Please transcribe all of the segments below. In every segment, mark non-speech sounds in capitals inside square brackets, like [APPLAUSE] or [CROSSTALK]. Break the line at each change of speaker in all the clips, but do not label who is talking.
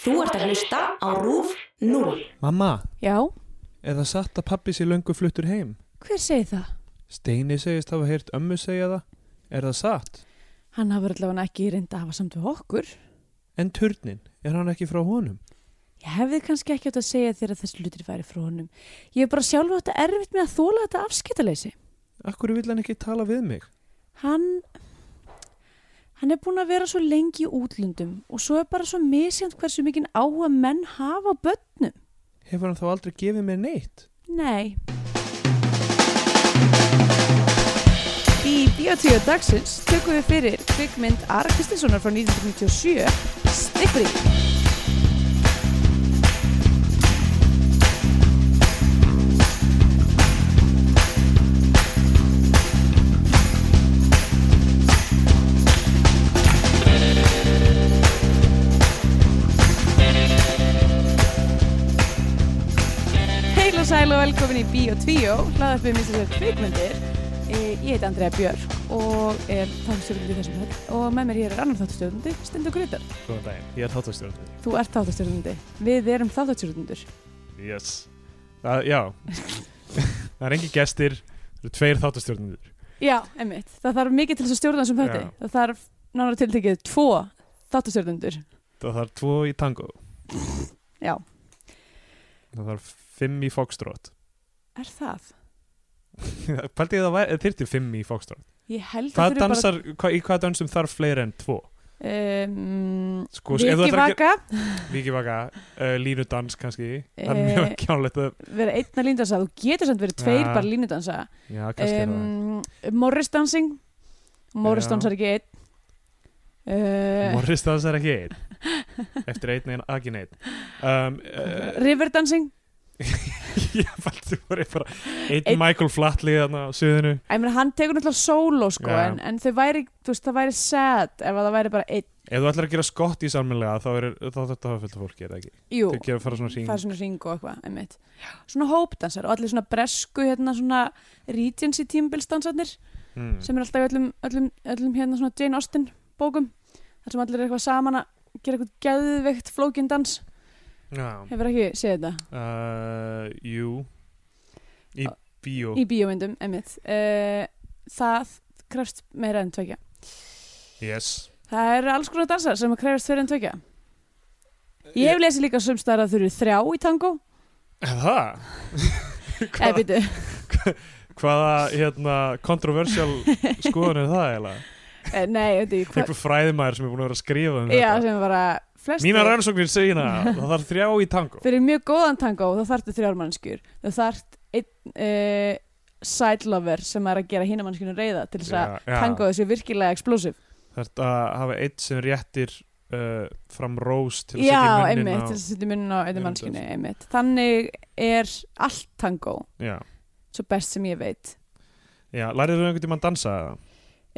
Þú ert að hlusta á RÚF 0.
Mamma,
Já,
er það satt að pappi sé löngu fluttur heim?
hver segir það?
Steini segist hafa heyrt ömmu segja það. Er það satt?
Hann hafur allavega ekki reynda að hafa samt við okkur.
En turnin, er hann ekki frá honum?
Ég hefði kannski ekki átt að segja þér að þessi hlutir væri frá honum. Ég hef bara sjálfa átt að erfitt með að þóla þetta afskiptaleysi.
Akkur vill hann ekki tala við mig?
Hann, hann er búin að vera svo lengi í útlundum og svo er bara svo misjönd hversu mikinn áhuga menn hafa á börnum.
Hefur hann þá aldrei gefið mér neitt?
Nei. Í Bíotíu dagsins tökum við fyrir kvikmynd Ara Kristinssonar frá 1997 Stippri. Heil og sæl og velkomin í Bíotíu, hlaðarpið minnst þessar kvikmyndir. Eh, Ég heiti Andrea Björk og er þáttastjórnandi í þessum þátt og með mér hér er annar þáttastjórnandi, Stendur Grytar.
Góðan daginn, ég er þáttastjórnir.
Þú ert þáttastjórnandi, við erum þáttastjórnandur.
Yes. Það,
[LAUGHS]
já. það er engin gestir, það eru tveir þáttastjórnir.
Já, einmitt. Það þarf mikið til þess að stjórna þessum hætti.
Já.
Það þarf nánar tiltekið tvo þáttastjórnundur.
Það þarf tvo í tango.
Já.
Það þarf fimm í [LAUGHS] fokstrót.
Er það?
Paldi ég það þyrti fimm í fokstrót.
Ég held að
Hvað
þurfi
dansar, hva, í hvað dansum þarf fleiri en tvo?
bara... Um,
Sko, ef þú ætlar að
Vikivaka,
gera- Vikivaka, uh, línudans kannski. Það er
Eh,
mjög kjánlegt að...
vera einna línudansa. Þú getur samt verið tveir
Ja.
bara línudansa.
Já, kannski er það.
Um, Morris dancing. Morris
Já.
dansar ekki einn. Uh,
Morris dansar ekki
[LAUGHS]
einn. Eftir einn en ekki einn. Um, uh,
river dancing.
[LAUGHS] Ég fælt þú voru bara einn
Einn-
Michael Flatley þarna á suðinu
Æ, meni, hann tekur náttúrulega solo sko,
Ja.
en, en þau væri, þú veist, það væri sad ef að það væri bara einn.
Ef þú ætlar að gera skott í sammelega þá er þá þetta að hafa fullt af fólki, er það ekki?
Jú.
Þau gera fara svona hring
fara svona ring og eitthvað, einmitt svona hópdansar og allir svona bresku hérna svona regency tímbilsdansarnir
mm.
sem er alltaf í öllum, öllum, öllum hérna svona Jane Austen bókum þar sem allir er eitthvað saman að gera eitthvað geðveikt flókin dans
Já,
hefur ekki séð þetta
uh, jú Í bíó
í bíómyndum, einmitt uh, það krefst meira en tvekja
Yes
það eru alls konar dansar sem krefst fyrir en tvekja ég hef lesið líka sumstæðar að þau eru þrjá í tango Eh,
Er Það?
eða
Hvaða,
býtu
hvaða hérna, kontroversial
[LAUGHS]
skoðun er það eiginlega?
Eh, nei, veit ég hvað
Einhver fræðimæður sem er búin að vera að skrifa um
já,
þetta
sem bara flestir
Mínar rannsóknir segina það þarf þrjá í tango
fyrir mjög góðan tango þá þarftu þrjár mannskjur þá þarft einn uh, side lover sem er að gera hína mannskjunum reyða til þess að
Já, já.
tangoðu sé virkilega explosiv
Þetta að hafa eitt sem réttir uh, fram rós til að setja í munnin
já, einmitt, til þess að setja munnin á
Einmitt,
einni mannskjunni, einmitt þannig er allt tango
Já,
svo best sem ég veit
já, lærið þú einhvern tímann að dansa eða?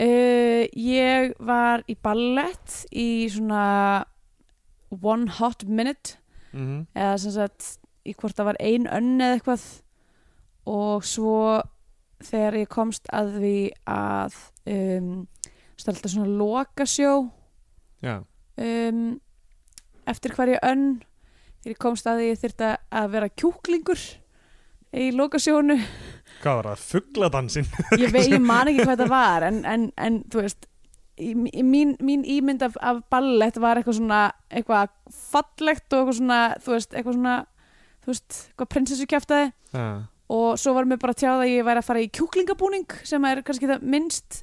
uh, ég var í ballett í svona one hot minute
Mm -hmm.
eða sem sagt í hvort það var ein önn eða eitthvað og svo þegar ég komst að því að um, það er alltaf svona lokasjó
Já,
um, eftir hverja önn þegar ég komst að því ég þyrfti að vera kjúklingur í lokasjónu
hvað var það? Fugladansin?
ég, vei, ég man ekki hvað það var en, en, en þú veist í, í, mín, mín ímynd af, af ballett var eitthvað svona eitthvað fallegt og eitthvað svona þú veist, eitthvað svona þú veist, eitthvað prinsessu kjæftaði
Já,
og svo var mér bara tjáð að ég væri að fara í kjúklingabúning sem er kannski það minnst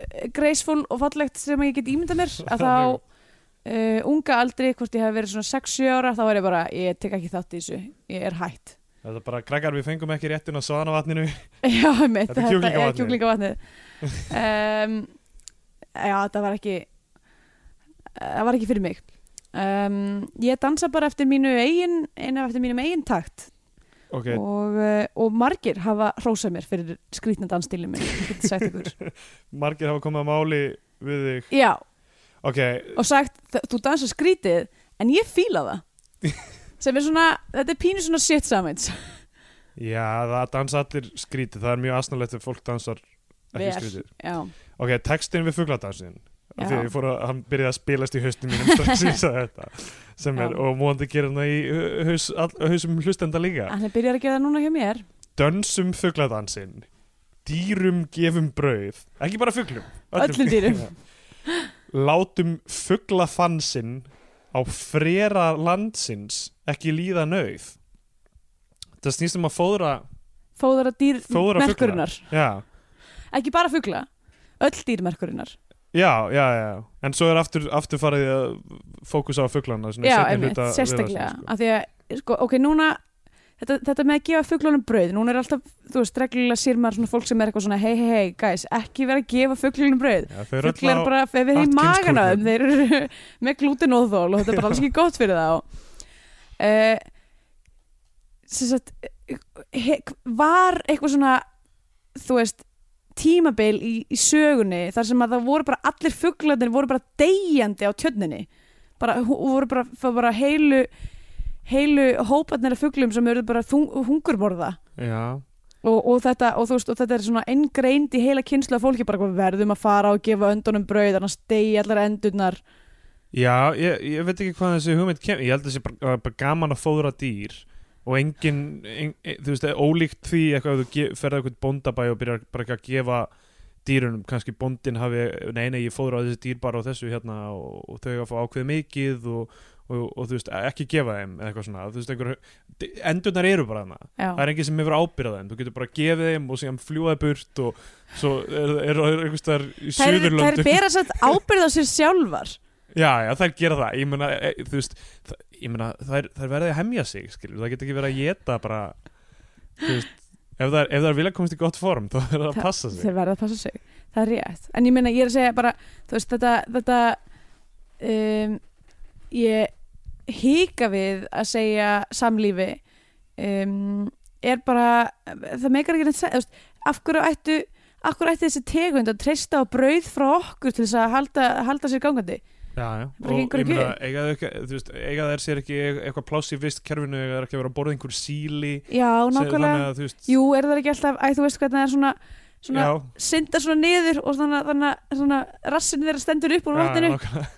eh, graceful og fallegt sem ég get ímyndað mér að þá uh, unga aldri, hvort ég hef verið svona 6-7 ára þá var ég bara, ég tek ekki þátt í þessu ég er hætt
þetta er bara krakkar við fengum ekki réttin á svanavatninu
já, [LAUGHS] mitt,
Þetta er
þetta er
kjúklingavatnið.
kjúklingavatnið
[LAUGHS]
um, já, þetta var ekki það var ekki fyrir mig um, ég dansa bara eftir mínu eigin, einu eftir mínum eigin takt
Ok,
og, eh, og margir hafa hrósað mér fyrir skrýtna dansstílið minn ég get
[LAUGHS]
sagt ykkur.
margir hafa komið að máli við þig
já,
Ok,
og sagt "Þ- þú dansa skrýtið en ég fíla það
[LAUGHS]
sem er svona, þetta er pínu svona shit samins
já, það dansa allir skrítið Það er mjög asnalegt ef fólk dansar ekki
Vel.
skrítið
já,
Ok, textin við fugladansin
Já.
Þegar ég fór að, hann byrjaði að spilast í haustum mínum strax sem ég sagði þetta sem er,
Já.
og móðandi gerir hana í uh, haus, all, hausum hlustenda líka
Hann er byrjar að gera það núna hjá mér
Dönsum fugladansin Dýrum gefum brauð Ekki bara fuglum
Öllum
[LAUGHS]
dýrum.
Já. Látum fuglafansin á frera landsins ekki líða nauð Það snýst um að fóðra
Fóðara dýr
Fóðra fugla.
merkurinnar
Já,
Ekki bara fugla, öll dýr merkurinnar
já, já, já En svo er aftur, aftur farið í að fókusa á fuglana svona í
Já,
seinni
einmitt,
hluta
sérstaklega
viðræðna, sko.
af því að, sko, ok, núna þetta, þetta með að gefa fuglunum brauð núna er alltaf, þú veist, reglulega sér maður svona fólk sem er eitthvað svona, hei, hei, hei, guys, ekki vera að gefa fuglunum brauð
Já, þau eru
fuglar
öll á-
bara, ef við hefum
Atkins
magana
kúrnum.
þeim, þeir eru [LAUGHS] með glútinóðól og þetta er bara alls ekki gott fyrir þá uh, sem sagt eh, he, var eitthvað svona þú veist, tímabil í, í sögunni þar sem að það voru bara allir fuglarnir voru bara deyjandi á tjörninni bara, hú- voru bara, fá bara heilu heilu hóparnir af fuglum sem eru bara þung, hungurmorða
Já,
og, og, þetta, og, þú veist, og þetta er svona engreind í heila kynslu að fólki bara eitthvað, verðum að fara og gefa öndunum brauð annars deyja allar endurnar
Já, ég, ég veit ekki hvað þessi hugmynd kemur Ég held að þessi bara, að bara gaman að fóðra dýr og engin, en, e, þú veist, ólíkt því eitthvað að þú ge- ferð eitthvað bóndabæ og byrjar bara ekki að gefa dýrunum kannski bóndin hafi, nei, nei, ég fóðra þessi dýr bara á þessu hérna og, og þau að fá ákveð mikið og, og, og þú veist, e, ekki gefa þeim eða eitthvað svona, þú veist, einhver endurnar eru bara hana,
Já.
það er enginn sem hefur ábyrðað þeim, þú getur bara að gefa þeim og síðan fljúaði burt og svo er, er, er einhvers þar í
þær,
Suðurlöndum
þær bera sætt ábyrð á sér sjálfar
Já, já, þær gera það, ég meina, e, þú veist, það, ég meina, þær, þær verði að hemja sig, skilur, það getur ekki verið að geta bara, þú veist, ef þær, ef þær vilja komast í gott form, þá verður það að
Það-
passa sig.
þeir verða að passa sig, það er rétt en ég meina, ég er að segja bara, þú veist, þetta, þetta um, ég hika við að segja samlífi um, er bara það meikar ekki neitt, se- þú veist, af hverju ættu af hverju ætti þessi tegund að treysta á brauð frá okkur til þess að halda, halda sér gangandi
Já, já,
bara
og
gengur
ég
ekki
meina, eiga þær ekki, þú veist, eiga þær sér ekki e, eitthvað pláss í vist kerfinu, eiga þær ekki að vera að borða einhver síli,
já,
sem-
nákvæmlega,
að, þú veist,
jú, er það ekki alltaf æ, þú veist hvernig það er svona, svona
já,
synda svona niður og þannig, þannig, þannig rassin þeirra stendur upp úr
já,
vatninu
nákvæmlega,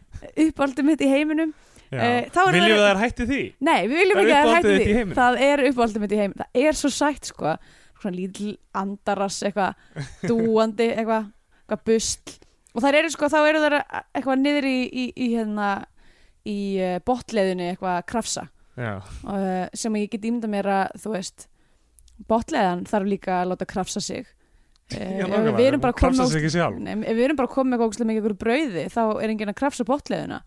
uppáldum mitt í heiminum
já.
Eh, þá eru
viljum
þær-
við þær hætti því?
Nei, við viljum
Það er
ekki að
uppáhaldið
hætti
þitt í
því
heiminum.
Það er uppáhaldum mitt í heiminum Það er svo sætt sko Svona lítil andarass
[LAUGHS]
eitthvað Dúandi eitthvað Eitthvað busl Og þær eru sko, þá eru þær eitthvað niður í, í, í hérna Í uh, botleðinu eitthvað að krafsa
Já,
uh, Sem ég get ímynda mér að, þú veist Botleðan þarf líka að láta krafsa
[LAUGHS]
sig Eh,
Já,
ef
nákvæmlega,
Við erum bara
hún
komin
krafsar
á
sig ekki sjálf.
Nei, ef við erum bara að koma með eitthvað ógeðslega mikið ykkur brauði þá er enginn að krafsa
[LAUGHS]
botleðuna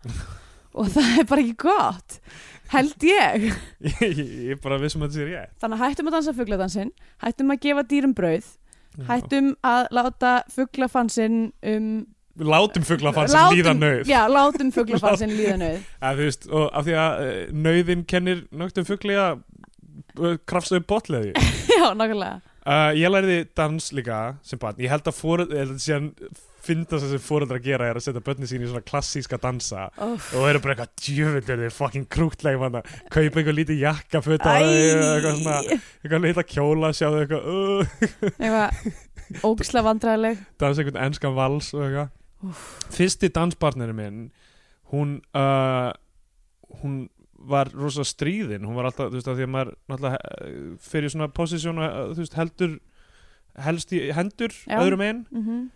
og það er bara ekki gott held ég
[LAUGHS] ég, ég- ég er bara vissum að þetta sér ég.
þannig að hættum að dansa fugladansin hættum að gefa dýrum brauð hættum að láta fuglafansin um
Látum fuglafans líða nauð.
já, látum fuglafansin
[LAUGHS]
líða nauð
að þú veist, og af því að uh, nauðin kennir nögtum fugli að uh, krafsa upp botleði
já, nákvæmlega
uh, ég læriði dans líka sem barn, ég held að fóreldra síðan fynda sem fóreldra gera er að setja börni sín í svona klassíska dansa
Óff.
og eru bara eitthvað djöfull er þið fucking krútleg manna kaupa einhver lítið jakka fötta á þig, eitthvað svona,
Æ,
eitthvað lítið kjóla sjá þau eitthvað, uh,
eitthvað ógisla vandræðileg
dansa einhvern enskan vals og eitthvað fyrsti danspartneri minn hún uh, hún var rosa stríðin hún var alltaf, þú veist, að því að maður náttúrulega eh, fyrir svona posisjón að, þú veist, heldur helst í hendur
Já.
öðrum einn
mm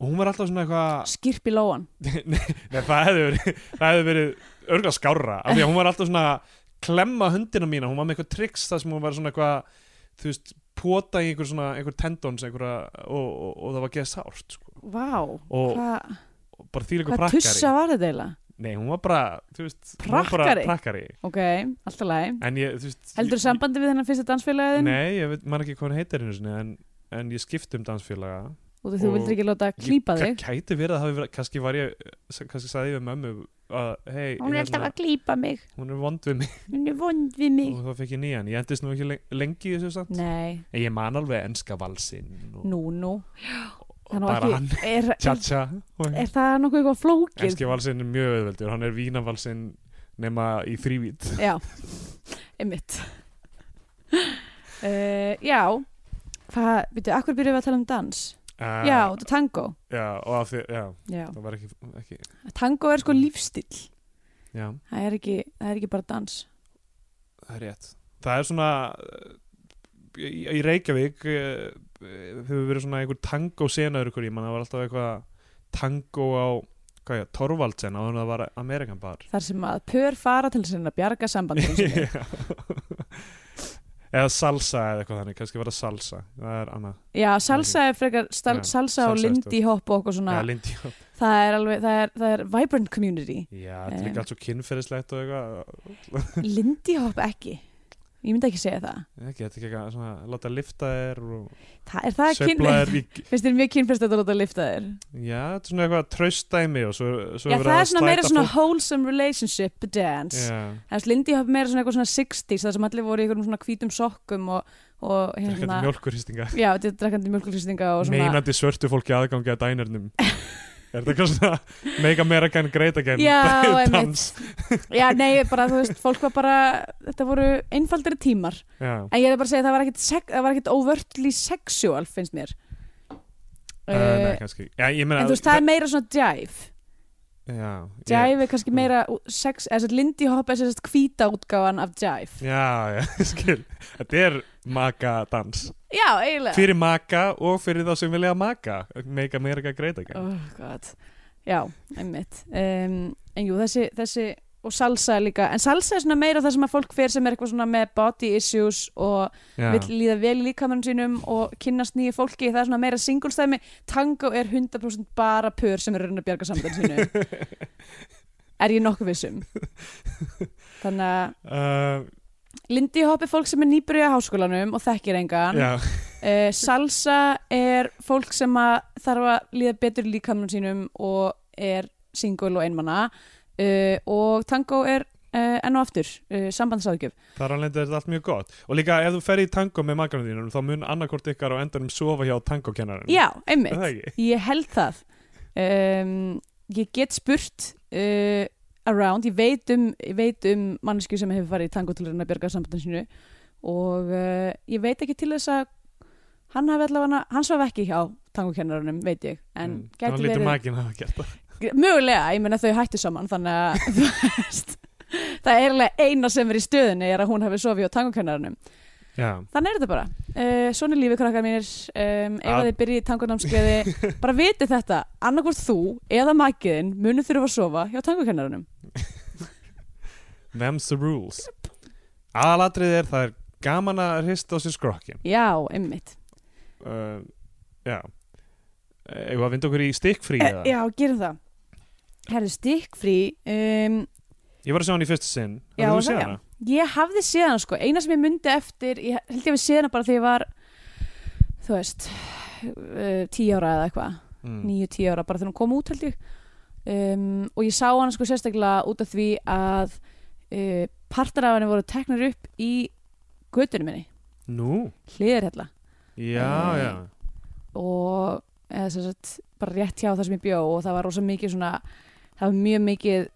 og hún var alltaf svona eitthvað [LAUGHS]
skirp í lóan
nei, það hefði verið, það hefði verið örgla skárra, af því að hún var alltaf svona að klemma höndina mína, hún var með eitthvað triks þar sem hún var svona eitthvað, þú veist pota í einhver svona, einhver tendons einhverja, og, og, og það var geða sárt sko.
vá,
Og-
hvað
og bara þýliku
hva
prakkari
tussa var þetta eiginlega
Nei, hún var bara, þú veist hún var
Prakkari?
Bara prakkari
ok, alltaf læg
En ég, þú veist
heldur
ég-
sambandi við þennan fyrsta dansfélagiðin
Nei, ég veit, maður ekki hvað hún heitir einu sinni En, en ég skipti um dansfélaga
og þú
Og-
vildir ekki láta
Ég
klípa
ka-
þig
Gæti verið að hafi verið, kannski var ég Kannski sagði ég við mömmu að, hey, hérna,
klípa mig,
Hún er vond við mig
hún er vond við
Og þá fekk ég nýjan, ég endist nú ekki leng- lengi í þessu samt
nei,
En ég man alveg enska valsinn Og,
nú nú
og
Þannig
bara
ekki-
hann,
er, er,
tja-tja og-
er það nokkuð eitthvað flókið
Enski valsinn er mjög auðveldur, hann er vínavalsinn Nema í þrývít
já, einmitt uh, já hvað, veitu, akkur byrjuðum við að tala um dans
uh,
já, þetta er tango
Já, og af því, já,
já.
það var ekki, ekki
tango er sko lífstíll
já,
það er ekki, það er ekki bara dans
það er rétt það er svona eh, í, í Reykjavík eh, hefur verið svona einhver tango senaður ykkur í mann, það var alltaf eitthvað tango á, hvað ég, Torvaldsen á þannig að það var Amerikan bar
þar sem að pör fara til sinna bjarga sambandum
[LAUGHS]
sinni.
Já. eða salsa eða eitthvað þannig, kannski var það salsa það er annað,
já, salsa er frekar stal,
Já,
salsa
salsa
og
er
lindy hop og okkur svona
eða Lindy Hop.
það er alveg, það er, það er vibrant
[LAUGHS]
community
já, þetta er
Em.
líka allt svo kynferðislegt og eitthvað
lindy hop ekki ég myndi ekki segja það
ekki, þetta er ekki eitthvað svona, láta lifta þér og
það er það kyn
sveifla þér í
[LAUGHS] finnst þér mjög kynfyrst að láta lifta þér
já, þetta er svona eitthvað traustdæmi og svo, svo
já,
er verið
það
að
er svona meira
slæta
svona
fólk-
wholesome relationship dance
já,
Það er Lindy Hop meira svona eitthvað svona 60s þar sem allir voru í einhverjum svona hvítum sokkum og, og hérna-
drekkandi mjölkurhýstinga
já, þetta er drakkandi mjölkulýstinga og svona
meinandi svörtu fólki aðgangi að dænirnum er þetta eitthvað svona make American great again
já,
[LAUGHS] dans
einmitt já, nei, bara þú veist, fólk var bara þetta voru einfaldari tímar
já,
en ég er bara að segja, það var ekkit, sek, það var ekkit overtly sexual, finnst mér
uh, nei, kannski já, ég meina
Eh, en þú veist, það er meira svona jive
já, ég,
jive er kannski meira ú- sex, eða sem sagt, Lindy Hop er sérst hvíta útgáfan af jive
já, já, [LAUGHS] skil þetta er makadans
já, eiginlega
fyrir maka og fyrir þá sem vilja maka make America great again
oh god já, einmitt um, en jú, þessi, þessi og salsa er líka, en salsa er svona meira það sem að fólk fer sem er eitthvað svona með body issues og
já,
vill líða vel í líkamann sínum og kynnast nýju fólki, það er svona meira singulstæmi, tango er 100% bara pör sem er raun að bjarga samtann sínu
[LAUGHS]
er ég nokkuð vissum þannig að
uh,
Lindy Hop er fólk sem er nýbyrja á háskólanum og þekkir engan
já,
Uh, salsa er fólk sem að þarf að líða betur í líkamnum sínum og er single og einmanna uh, og tango er uh, enn og aftur uh, sambandsráðgjöf
þar alveg er þetta allt mjög gott og líka ef þú fer í tango með makanum þínum þá mun annarkort ykkar á endanum sofa hjá tangokennarinn
Já,
Er það
einmitt,
ekki?
ég held það um, Ég get spurt uh, around, ég veit um, ég veit um mannesku sem hefur farið í tango til að reyna að björga sambandum sínu og uh, ég veit ekki til þess að hann hafi allavega, hann svaf ekki hjá tangokennarunum, veit ég en
Mm,
gæti
þá lítur
verið
makin að hafa gert það
mögulega, ég meina þau hættu saman þannig að [LAUGHS] þú veist, það er alveg eina sem er í stöðunni er að hún hafi sofið á tangokennarunum
já,
þannig er þetta bara, uh, svona er lífið krakkar mínir um,
Að-
ef að þið byrjið í tangonámskeiði bara vitið þetta, annarkvort þú eða makiðin munið þurfa að sofa hjá tangokennarunum
them's the rules aðalatrið er það er gaman að hrista á sér skrokkin
já, einmitt
uh, já eða að vinda okkur í stikkfrí
e,
eða?
já, gerum það herðu stikkfrí um,
ég var að sjá hann í fyrsta sinn
Já,
Hafðir þú
var það
séð
já.
hana?
Ég hafði séð hana sko, eina sem ég myndi eftir, ég held ég við séð hana bara þegar ég var, þú veist, uh, tíu ára eða eitthvað,
Mm.
níu, tíu ára, bara þegar hún kom út held ég. Um, og ég sá hana sko sérstaklega út af því að uh, partar af henni voru teknar upp í göttunum minni,
nú,
hliðarhella
já,
Eh,
já
og eða sem sagt bara rétt hjá það sem ég bjó og það var rosa mikið svona það var mjög mikið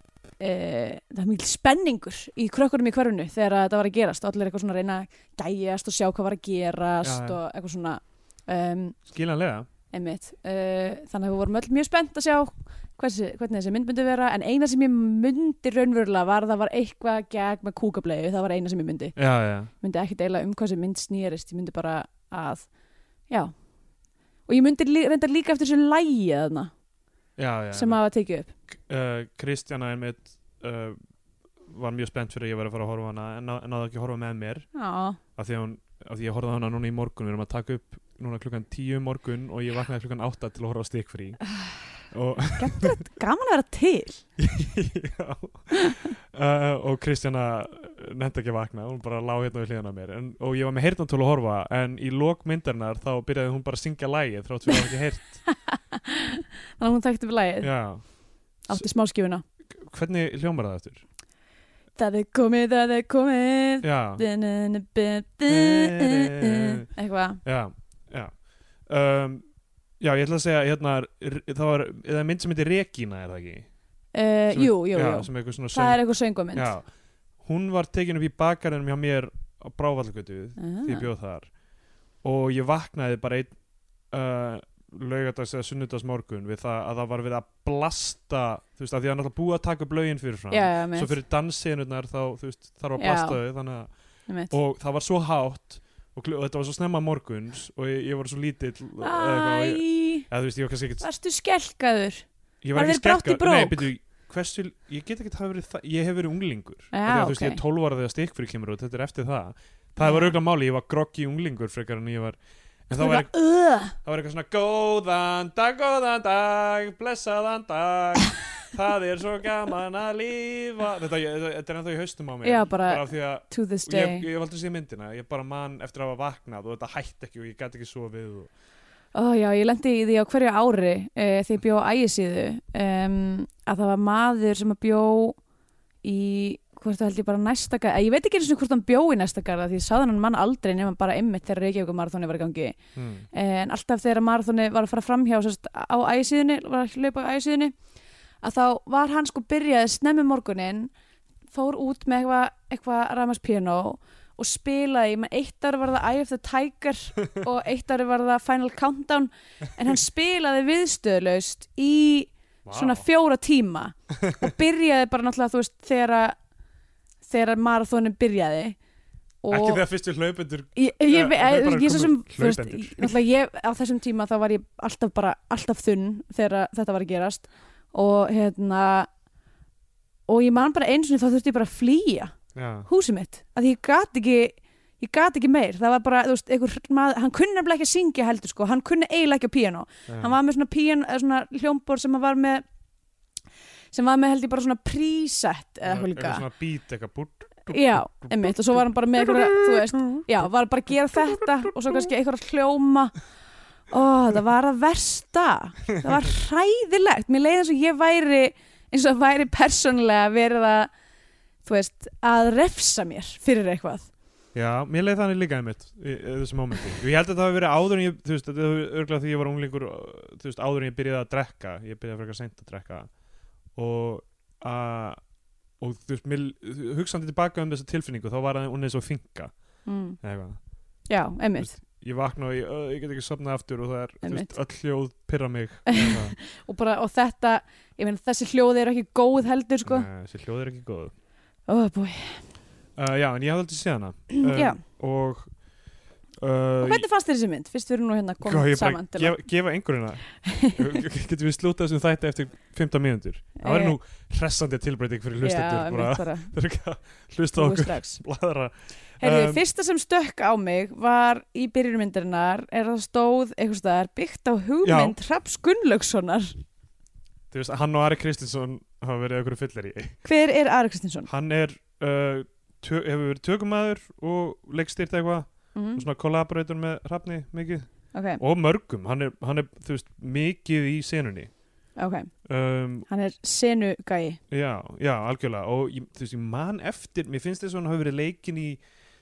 Uh, það var mikil spenningur í krökkunum í hverfinu þegar þetta var að gerast og allir eitthvað svona að reyna að gæjast og sjá hvað var að gerast
Já, já.
og eitthvað svona um,
skiljanlega
einmitt uh, þannig að við vorum öll mjög spennt að sjá hversi, hvernig þessi mynd myndi vera en eina sem ég myndi raunverulega var að það var eitthvað gegn með kúkablegu það var eina sem ég myndi
já, já,
myndi ekki deila um hvað sem mynd snýrist ég myndi bara að já og ég myndi lí, reynda líka eftir þessu lægi þarna
já, já
sem hafa tekið upp
uh, Kristjana einmitt uh, var mjög spennt fyrir að ég verið að fara að horfa á hana en ná- en náði ekki að horfa með mér
já,
af því að, hún, af því að ég horfði á hana núna í morgun við erum að taka upp núna klukkan 10 um morgun og ég vaknaði klukkan 8 til að horfa á stikfrí
[SIGHS]
og,
gaman að vera til
já, [LAUGHS] uh, og Kristjana nefndi ekki að vakna, hún bara lá hérna við hliðan á mér en, og ég var með heyrnatól að horfa en í lok myndarinnar þá byrjaði hún bara að syngja lægið þrátt fyrir að hafa ekki heyrt
[LAUGHS] þannig að hún tekti upp lægið,
já,
átti smáskjöfuna
hvernig hljómar það eftir?
það er komið, það er komið
Já,
eitthvað
já, já um, Já, ég ætla að segja hérna, r- það var, eða mynd sem heitir Regína er það ekki?
uh,
Sem-
jú, jú,
já,
jú
sem eitthvað svona
það er eitthvað söngvamynd
já, Hún var tekin upp í bakarinn hjá mér á Brávallgötu því ég
Ah.
bjóð þar og ég vaknaði bara einn uh, laugardags eða sunnudagsmorgun við það að það var við að blasta þú veist, að því að náttúrulega búið að taka upp lögin fyrir fram
já, já, mitt,
svo fyrir dansinurnar þá þú veist, þarf að
Já.
blasta þau þannig að,
mitt.
og það var svo hátt og, kl- og þetta var svo snemma morguns og ég, ég var svo lítill og- eða eitthvað, og ég,
Æ,
eða, þú veist, ég var kannski ekkert
varstu skelkaður
ég var
Var
ekki
þér grátt í
skekka
brók?
nei, byrju, hversu, ég get ekki hafa verið það ég hef verið unglingur Af
Já,
því að, þú veist,
ok.
ég er 12 ára þegar stikfri kemur út þetta er eftir það það var
Já.
auðvitað máli, ég var groggi unglingur frekar en ég var en það
Þú
var,
bara, "Ugh."
það var eitthvað svona góðan dag, góðan dag, blessaðan
[LAUGHS]
dag það er svo gaman að lífa þetta, ég- þetta, þetta er ennþá í haustum á mér
Já, bara-
af því að
to this
ég,
day
ég valdi að sé myndina ég bara man eftir að hafa vaknað og þetta hætti ekki og ég gæti ekki sofið og...
Ó já, ég lendi í því á hverju ári uh, þegar ég bjó á ægisíðu um, að það var maður sem að bjó í, hvort það held ég bara næsta garð, ég veit ekki eins og hvort hann bjó í næsta garð því ég sáði hann mann aldrei nema bara einmitt þegar Reykjavík marathóni var í gangi
hmm.
Eh, en alltaf þegar marathóni var að fara framhjá sérst, á ægisíðunni, var að hlaupa á ægisíðunni að þá var hann sko byrjaði snemmi morgunin fór út með eitthvað eitthva ramaspíano og spilaði, menn eitt ári var það Eye of the Tiger
[LAUGHS]
og eitt ári var það Final Countdown en hann spilaði viðstöðlaust í svona fjóra tíma og byrjaði bara náttúrulega þú veist þegar að- þegar marathónin byrjaði
ekki þegar fyrstu hlaupendur
Ég, ég,
Eh, þau
ve- ég,
bara
ég, svo sem,
komu
þú veist,
hlaupendur.
ég- náttúrulega ég, á þessum tíma þá var ég alltaf bara, alltaf þunn þegar að þetta var að gerast og hérna og ég man bara eins og þá þurfti ég bara að flýja
já,
húsið mitt, að ég gat ekki ég gat ekki meir, það var bara, þú veist, einhver maður, hann kunni nefnilega ekki að syngja heldur sko hann kunni eiginlega ekki á píano,
já.
hann var með svona pían eða svona hljómbor sem hann var með sem var með held ég bara svona preset eða eitthvað líka
svona beat eitthvað bútt
já, einmitt, og svo var hann bara með eitthvað, þú veist já, var bara að gera þetta og svo kannski eitthvað hljóma ó, það var að versta það var hræðilegt, mér leiði eins og ég væri eins og væri persónlega verið að þú veist, að refsa mér fyrir eitthvað
Já, mér leið þannig líka einmitt í, í þessu mómenti. Ég held að það hafi verið áður en ég, þú veist, þetta er örgulega því ég var unglingur uh, þú veist, áður en ég byrjaði að drekka ég byrjaði frekar seint að drekka og að og þú veist, mér, hugsaði tilbaka um þessa tilfinningu, þá var það hún eins og finka
mm.
eða eitthvað.
já, einmitt,
Ég vakna og ég, uh, ég get ekki sofnað aftur og það er, þú
Einmitt.
veist, öll hljóð pyrra
[LAUGHS]
mig eða eitthvað.
og bara, og þetta ég meina, þessi hljóði eru ekki góð heldur sko,
Nei, þessi hljóð er ekki góð.
ó, búi,
Uh, já, en ég hafði aldrei séð hana.
já
Og
og
uh,
hvernig fannst þér þessi mynd, fyrst við erum nú hérna
Já,
komin
ég bara
saman til
gefa, gefa einhverjuna
[LAUGHS]
Getum við slútað þessum þætti eftir 15 mínútur Það væri nú hressandi tilbreyting fyrir
Eh. já,
hlustendur bara
einmitt bara,
[LAUGHS] þeir eru ekki að Hlusta á
búið
okkur
strax
bladra
Herðu,
Um,
fyrsta sem stökk á mig var í byrjunmyndarinnar er að það stóð eitthvað staðar byggt á hugmynd Hrafs Gunnlaugssonar.
Þú veist, hann og Ari Kristinsson hafa verið okkur fyllir í
Hver er Ari Kristinsson?
Hann er, uh, tö, hefur verið tökumæður og leikstýrt eitthvað og
Mm,
svona kollaborator með Hrafni mikið
ok,
og mörgum, hann er, hann er þú veist, mikið í senunni
ok.
um,
Hann er senugæi.
Já, já, algjörlega og ég, þú veist, ég man eftir, mér finnst þess að hann hafi verið leikin í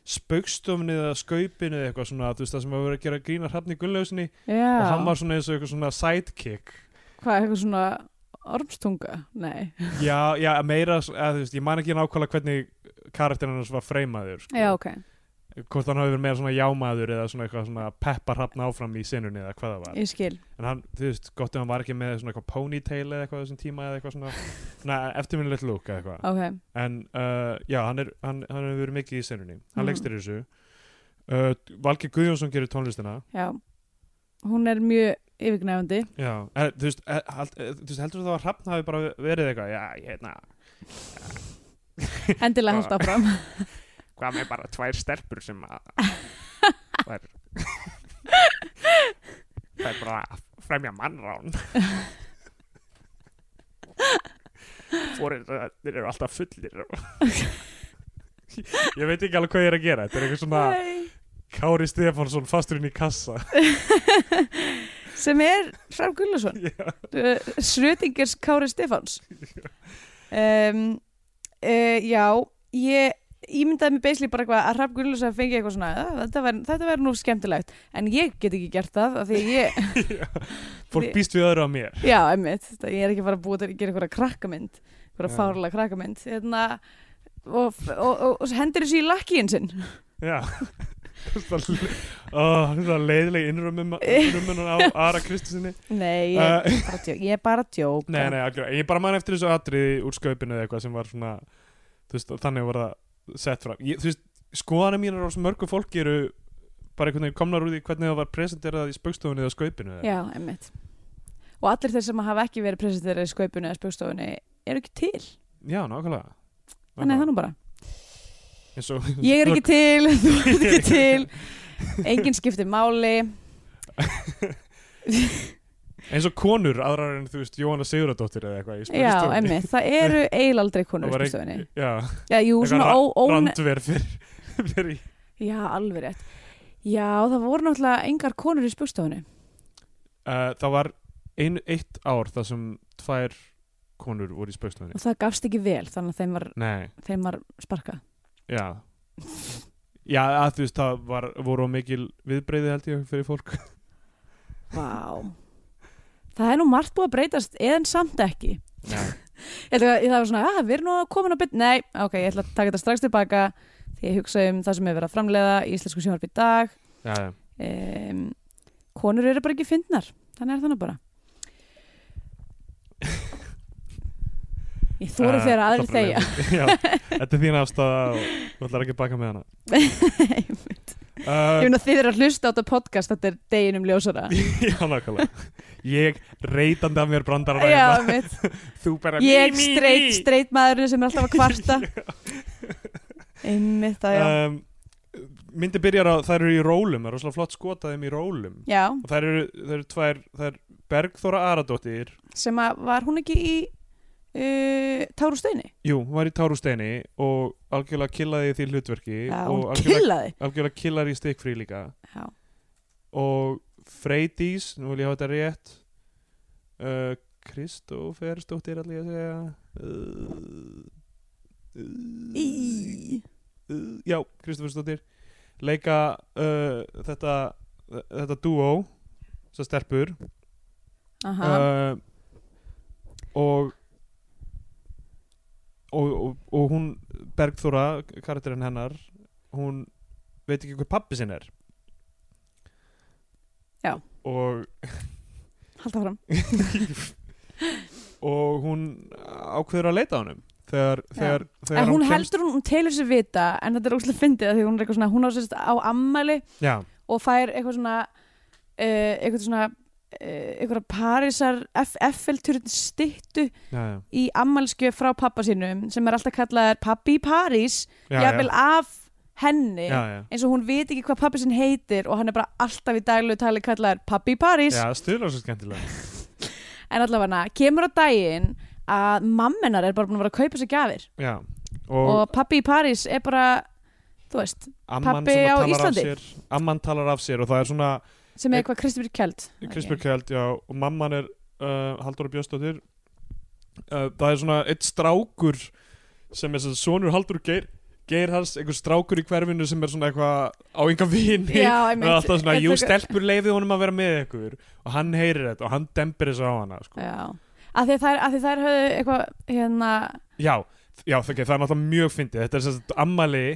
spaukstofni eða skaupinu eða eitthvað svona, þú veist, það sem hafi verið að gera grína hrafni Gunnlausinni
Já.
og hann var svona eins og eitthvað svona sidekick
Hvað, eitthvað svona ormstunga? Nei.
Já, já, meira, s- eða, þú veist, ég man ekki nákvæmlega hvernig karakterinn hans var freymaður sko.
Já, ok.
hvort hann hafi verið meira svona jámaður eða svona eitthvað svona peppa hrafna áfram í sinunni eða hvað það var
Ég skil.
en hann, þú veist, gott ef hann var ekki með svona eitthvað ponytail eða eitthvað á þessum tíma eða eitthvað svona, svona eftirminnilegt lúk eða eitthvað
Ok.
en uh, já, hann, er, hann, hann hefur verið mikið í senunni hann
Mhm.
mm. leikstir þessu uh, Valgeir Guðjónsson gerir tónlistina
Já. Hún er mjög yfirgnæfandi.
já, er, Eh, þú, veist, er, hald, er, þú veist, heldur þú þá að Hrafn hafi bara verið eitthvað já, ég hérna, hefna,
Endilega halda áfram.
[LAUGHS] hvað með bara tvær stelpur sem að þær þær bara fremja [LAUGHS] mannrán fórir þeir eru alltaf fullir ég veit ekki alveg hvað ég er að gera þetta er eitthvað svona
Nei.
Kári Stefánsson fasturinn í kassa
Sem er Hrafn Gunnlaugsson.
Já.
uh, Schrödingers Kári Stefáns um, uh, Já ég ímyndaði mér beisli bara eitthvað að Hrafn Gunnlaugs að fengi eitthvað svona "Ah, þetta væri- þetta verður nú skemmtilegt en ég get ekki gert það af því að ég,
Já. Fólk býst við öðru á mér
já, emmitt ég er ekki að fara að búa til að gera eitthvað krakkamynd eitthvað
Já.
fárlega krakkamynd hérna, og, og, og, og hendur þessu í lakkiðin sinn
Já, [LAUGHS] það, oh, það leiðileg
[LAUGHS]
innrömmun á Ara Kristinsinni
Nei, ég,
uh,
bara djó, ég er bara að djóka
Nei, nei, algjörlega. ég bara man eftir þessu atriði úr sköpinu eða eitthvað sem var svona þú veist, þannig var það sett fram ég, þú veist, skoðanir mínar á svo mörgu fólki eru bara einhvern veginn komnar úr því hvernig það var presenterað í spöggstofunni eða sköpinu eða.
Já, einmitt Og allir þeir sem hafa ekki verið presenterið í skaupinu eða spöggstofunni eru ekki til
Já, nákvæmlega
Þannig er það nú bara
Eins og,
Ég
[LAUGHS]
er ekki til, þú ert ekki til Engin skiptir máli
eins og konur aðrar en þú veist, Jóhanna Siguradóttir eða eitthvað í
Já,
spöggstofunni
einmitt, það eru eilaldri konur í
Það var
spöggstofunni
[LAUGHS] Já,
Já, jú, svona ó,
ra-
ó,
randver fyrir, [LAUGHS] fyrir í
Já, alveg rétt Já, það voru náttúrulega engar konur í spöggstofunni
uh, Það var ein, eitt ár þar sem tvær konur voru í spöggstofunni
og það gafst ekki vel þannig að þeim var,
Nei
þeim var sparkað
Já Já, að þú veist, það var, voru á mikil viðbreyði held ég fyrir fólk
Vá Það er nú margt búið að breytast eðan samt ekki
Já,
Ég ætla að, það var svona, að við erum nú komin að byrja Nei, ok, ég ætla að taka þetta strax tilbaka því ég hugsa um það sem er verið að framleiða í íslensku sjónvarpi í dag
já, já.
um, Konur eru bara ekki fyndnar Þannig er þannig bara Ég þóru
Eh,
þegar aðrir
það
þegja
er bara- [LAUGHS] Já, þetta er þín afstæða og þú ætlar ekki að baka með hana
Ég [LAUGHS]
uh,
finn að þið eru að hlusta á þetta podcast Þetta er deginum ljósara
Eh, [LAUGHS] Já, nákvæmlega Ég reytandi af mér brandar að
Já, mitt
Þú bara
ég
mí, mí,
streit,
mí.
streit maðurinn sem er alltaf að
[LAUGHS]
kvarta einmitt það já
um, Myndi byrjar á, þær eru í rólum Það er rosalega flott skotaðum í rólum
já,
Og þær eru, þær eru tvær, þær er Bergþóra Aradóttir
sem að var hún ekki í uh, Táru Steini
Jú, hún var í Tárusteini og algjörlega killaði í því hlutverki
já,
og
hún
algjörlega
killaði
algjörlega killar í stikkfrí líka
já,
og Freydís, nú vil ég hafa þetta rétt uh, Kristófer stóttir allir að segja uh, uh,
í
uh, já, Kristófer stóttir leika uh, þetta þetta duo sem stelpur
aha,
uh, og Og, og, og hún Bergþóra, karakterinn hennar hún veit ekki hver pappi sinn er
Já.
og
halda fram
og hún ákveður að leita á honum þegar,
Já.
þegar, þegar
en hún
kemst-
heldur hún, hún telur sér vita en þetta er óslega fyndið af því hún er eitthvað svona hún á sérst á ammæli
já,
og fær eitthvað svona uh, eitthvað svona uh, eitthvað parísar FL-turinn stittu
já, já,
í ammælskjöf frá pappa sínum sem er alltaf kallaðar pappi í París
já,
jafnvel af henni
já, já.
eins og hún veit ekki hvað pappi sinn heitir og hann er bara alltaf í daglegu tali kallaðar pappi í París
já stuðlar svo skemmtilega
en allavega kemur á daginn að mammenar er bara búin að vera að kaupa sér gjafir
já.
og,
og,
pappi í París er bara þú veist,
amman
pabbi
svona
á
talar
Íslandi.
af sér, amman talar af sér og það er svona
sem er
Ég-
eitthvað Kristibjörg Kjeld
Kristbjörg Kjeld, já, og mamman er uh, Halldóra Björnsdóttir uh, það er svona eitt strákur sem er svona sonur Halldór Geir Geirhals, einhver strákur í hverfinu sem er svona eitthvað á enga vini
Já,
og
einmitt.
það er alltaf svona,
Þetta-
jú, stelpur leiði honum að vera með ykkur og hann heyrir þetta og hann dembir þessu á hana sko.
Já. Af því þær, af því þær höfðu eitthvað hérna,
já, já okay, það er náttúrulega mjög fyndið þetta er sem sagt ammali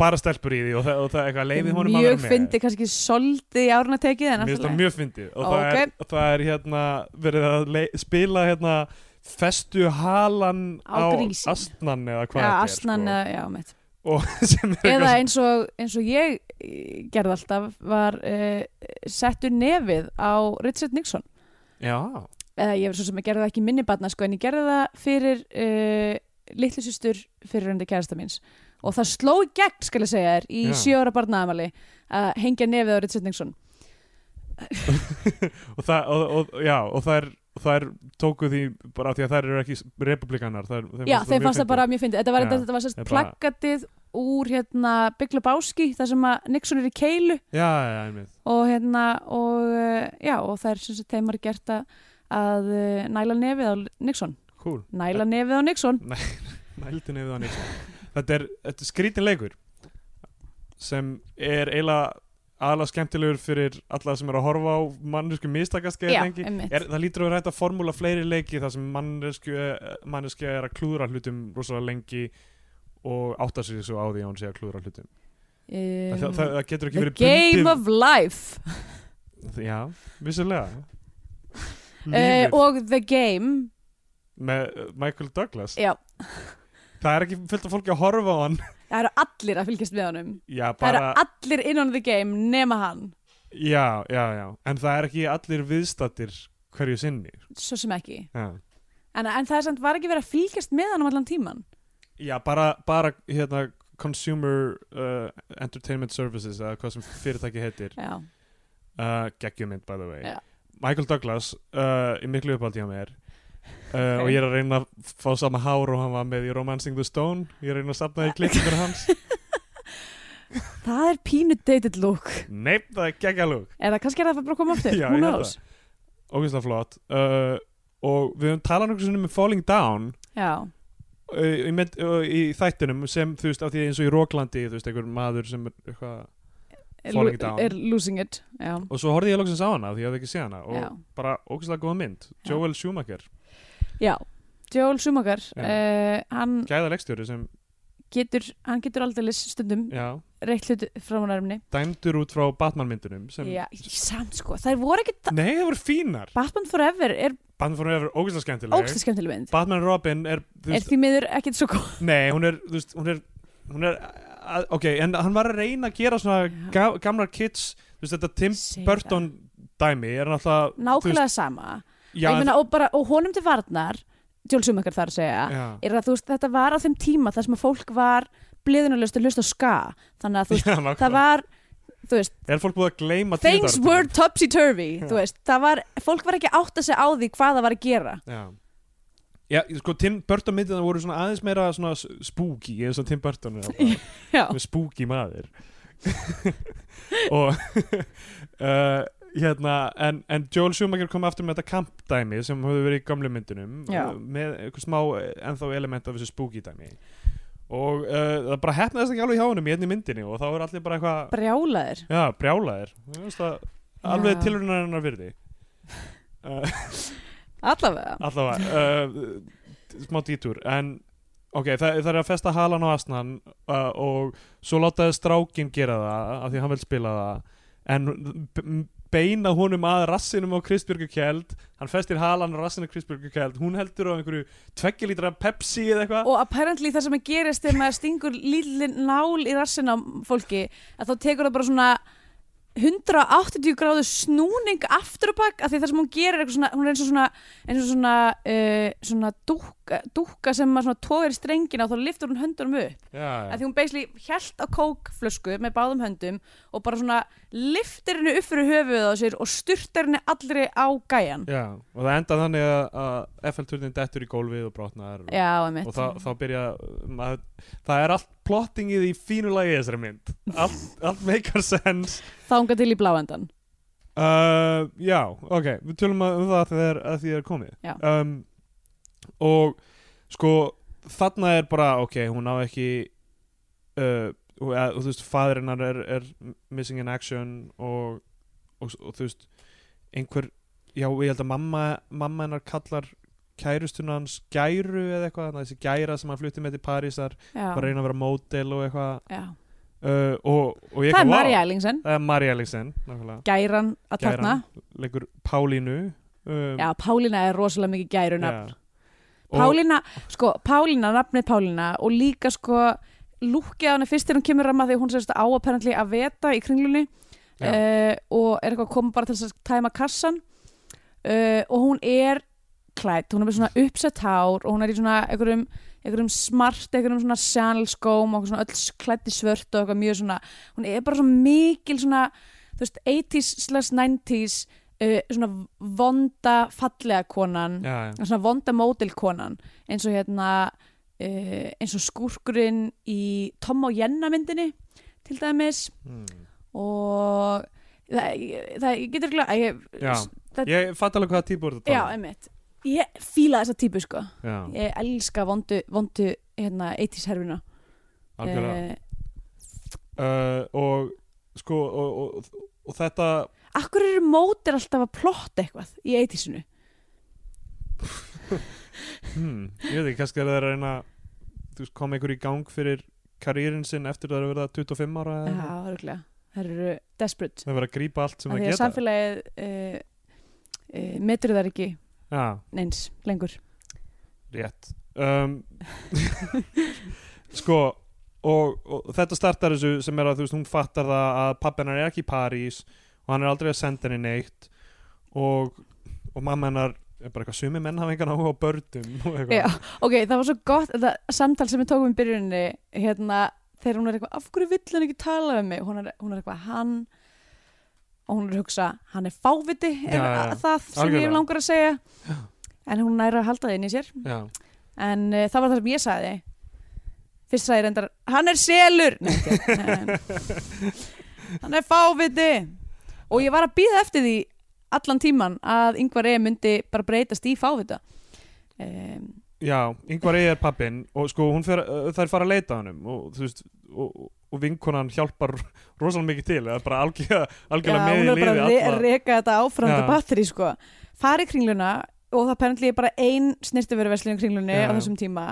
bara stelpur í því og það, og það er eitthvað leiði honum að vera
mjög
með
fyndi kannski soldi í árna tekið en
Mér finnst það
allt í lagi.
mjög fyndið og það, er, það er hérna verið að le- spila hérna festu halan
Á
á,
grísinn.
astnan eða hvað
Já,
þetta er
asnan,
sko.
eða- já, mitt
og [LAUGHS] sem er
eða
eitthvað
eins og, eins og ég eh, gerði alltaf var uh, settur nefið á Richard Nixon
já,
eða ég verið svo sem að gerði það ekki í minni batna sko, en ég gerði það fyrir uh, litlu systur fyrir reyndi kærasta míns og það sló í gegn skal ég segja þér í
Já.
sjö ára barnaðamali að hengja nefið á Richard Nixon
og það, og, og, já, og það er það er tókuð því bara af því að þær eru ekki republikanar þær,
já þeim fannst það bara mjög fyndið þetta var,
Já.
þetta, þetta var sérst
Þetta bara-
plakatið úr hérna Big Lebowski þar sem að Nixon er í keilu
já, já, einmitt
og hérna og eh, já og það er sem sagt þeim var gert að- að eh, næla nefið á Nixon
cool
næla nefið á Nixon
Nældi nefið á Nixon Þetta er, þetta er skrítin leikur sem er eiginlega aðla skemmtilegur fyrir alla sem er að horfa á mannesku mistakaskeið
Já,
lengi
einmitt.
er, Það lítur að vera hægt að formúla fleiri leiki þar sem eh, mannesku, mannesku er að klúðra hlutum rosalega lengi og átta sig svo á því að hún sé að klúðra hlutum
um,
það, það, það getur ekki
The
verið
Game of Life
Já, vissulega
uh,
Lífið
og The Game
með uh, Michael Douglas
já,
Það er ekki fullt af fólki að horfa á hann
það eru allir að fylgjast með honum
Já,
það
bara,
eru allir innan The Game nema hann
já, já, já En það er ekki allir viðstattir hverju sinni
svo sem ekki
Já,
en, en það er samt var ekki verið að fylgjast með honum allan tíman
já bara, bara hérna, Consumer uh, Entertainment Services eða hvað sem fyrirtæki heitir
já,
uh, geggjumynd by the way
Já.
Michael Douglas uh, í miklu uppáldi á mér Uh,
Ok.
og ég er að reyna að fá sama hár og hann var með í Romancing the Stone ég er að reyna að safna í klippingur hans
[LAUGHS] það er pínu dated look
neip, það er geggalug
eða kannski er það bara að koma aftur
Já,
Who
ég held
knows?
ógeðslega flott uh, og við höfum talað nokkuð sinnum um Falling Down
já,
uh, í, mynd, uh, í þættinum sem þú veist af því eins og í Róklandi þú veist einhver maður sem er eitthvað
er,
Falling
lo-
Down.
er losing it já,
og svo horfði ég loksins á hana af því ég hafði ekki séð hana og
já,
bara ógeðslega góða mynd
Já.
Joel Schumacher,
já Joel Schumacher
Já.
uh, hann,
gæða leikstjóri sem
getur, hann getur aldrei stundum
já,
reitt hlut frá hún armni
dæmdur út frá Batman myndunum sem,
já, samt sko, þær voru ekki
nei það voru fínar
Batman Forever er
Batman fór hefur ógeðslega skemmtileg
ógstu skemmtileg mynd
Batman and Robin er, þú
er
veist,
því miður ekkert svo góð
nei hún er, þú veist, hún er, hún er að, ok, en hann var að reyna að gera svona ga gamlar kids, þú veist, þetta Tim
Segðu
Burton dæmi er náttúrulega þú
nákvæmlega sama
veist, já,
ég meina, og, bara, og honum til varnar Joel Schumacher þar að segja
já,
er að þú veist, þetta var á þeim tíma þar sem að fólk var bliðunarlust að hlusta á ska þannig að þú veist,
já,
það
[LAUGHS] nákvæmlega
var þú veist,
er fólk búið að gleyma
things
tíðarfötum?
were topsy-turvy
Já.
þú veist, það var, fólk var ekki átt að segja á því hvað það var að gera
já Já, sko, Tim Burton myndina voru svona aðeins meira svona s- spooky, eins og Tim Burton er bara-
já,
með spooky maður [LAUGHS] og [LAUGHS] uh, hérna en, en Joel Schumacher kom aftur með þetta kampdæmi sem höfðu verið í gamlu myndunum
Já.
uh, með einhver smá eh, ennþá element af þessu spooky dæmi og uh, það bara hefnaðist ekki alveg hjá honum í einni myndinni og þá er allir bara eitthvað
brjálaðir
já, brjálaðir Þú veist það, alveg
Já.
tilhörunarinnar
[LAUGHS]
virði uh,
allavega
allavega uh, smá dítúr en ok, það, það er að festa halan á asnan uh, og svo látaði strákin gera það af því hann vil spila það en b- beina honum að rassinum á Kristbjörgu Kjeld hann festir halan á rassinu á Kristbjörgu Kjeld hún heldur á einhverju tveggjulítra Pepsi eða eitthvað
og apparently það sem að gerist þegar maður stingur lítið nál í rassin á fólki að þá tekur það bara svona 180 gráðu snúning aftur og bakk af því það sem hún gerir er eitthvað svona, hún er eins og svona, eins og svona, uh, svona dúkka, dúkka sem maður svona tóður í strengina og þá liftur hún höndunum upp
já,
af því hún basically hjælt á kókflösku með báðum höndum og bara svona liftir henni upp fyrir höfuðið á sér og styrtar henni allri á gæjan
já, og það enda þannig að, að FL-turnin dettur í gólfið og brotnar og,
Já, emitt
og þá, þá byrja maður, það er allt plottingið í fínu lagi í þessari mynd allt, allt meikar sens
þá hún til í bláendan
Uh, já, ok, við tölum að- um það þegar að því er
Já.
komið um, og sko þarna er bara, ok, hún á ekki uh, og, eða, þú veist, fæðurinnar er, er missing in action og, og, og þú veist einhver, já, ég held að mamma mamma hennar kallar kærustuna hans gæru eða eitthvað þannig að þessi gæra sem hann flutti með til Parísar
Já,
bara reyna að vera módel og eitthvað
já
uh, og, og ég
Það er
eitthvað, vá.
Marja Ellingsen,
það er Marja Ellingsen, nákvæmlega
gæran að
Gæran.
þarna
leikur Pálínu um,
Já, Pálína er rosalega mikið gærunafn
já. Og-
Pálína, sko, Pálína, nafnið Pálína og líka sko lúkkið á henni fyrst þegar hún kemur ramma því að hún sérst á apparently að veta í kringlunni
Já.
uh, og er eitthvað að koma bara til þess að tæma kassan uh, og hún er klætt, hún er með svona uppsett hár og hún er í svona einhverjum, einhverjum smart, einhverjum svona Chanel skóm og svona öll klætt í svört og eitthvað mjög svona, hún er bara svona mikil svona, þú veist, 80s slash 90s uh, svona vonda fallega konan
já, já.
svona vonda mótilkonan eins og hérna uh, eins og skúrkurinn í Tom og Jenna myndinni til dæmis
Mm.
og það, það ég getur glæð ég,
já.
það-
ég fatt alveg hvaða típur þetta
já, einmitt ég fíla þessa típu sko
um. já,
ég elska vondu, vondu hérna, 80s herfina
algjörlega
Eh,
uh, og sko og, og, og þetta
af hverju eru mótir alltaf að plotta eitthvað í 80sinu
hmm, ég veit ekki, kannski er það að reyna þú veist, koma einhver í gang fyrir karýrin sinn eftir að vera 25 ára
Já,
eða
örgulega. Það eru desperate.
það vera að grípa allt sem
Af
það
því að
geta
samfélagið uh, uh, metur þar ekki
Já,
neins lengur.
rétt um, [LAUGHS] Sko og, og þetta startar þessu sem er að þú veist hún fattar það að pappi hennar er ekki í París og hann er aldrei að senda henni neitt og, og mamma hennar er bara eitthvað sumi menn hafa engan áhuga á börnum og eitthvað
Já, ok, það var svo gott þetta samtal sem við tókum í byrjuninni hérna, þegar hún er eitthvað, af hverju vill hann ekki tala við mig, hún er, hún er eitthvað hann og hún er að hugsa hann er fáviti, er
Já, já, já.
það sem ég
Algjörlega.
hef langar að segja en hún næra að halda það inn í sér
Já.
en uh, það var það sem ég sagði fyrst sagði ég reyndar, hann er selur nei, ekki, nei, nei. hann er fáviti og ég var að býða eftir því allan tíman að yngvar eða myndi bara breytast í fávita um,
Já, yngvar eigi er pappin og sko hún fer, uh, þær fara að leita að honum og þú veist og, og vinkonan hjálpar rosalega mikið til eða bara algjörlega, algjörlega með í
hún er
liði
bara að re
alla-
reka þetta áfram
Já.
til batteri sko. fari í kringluna og það apparently er bara ein snirtiveruverslun í kringlunni
Já,
á
já.
þessum tíma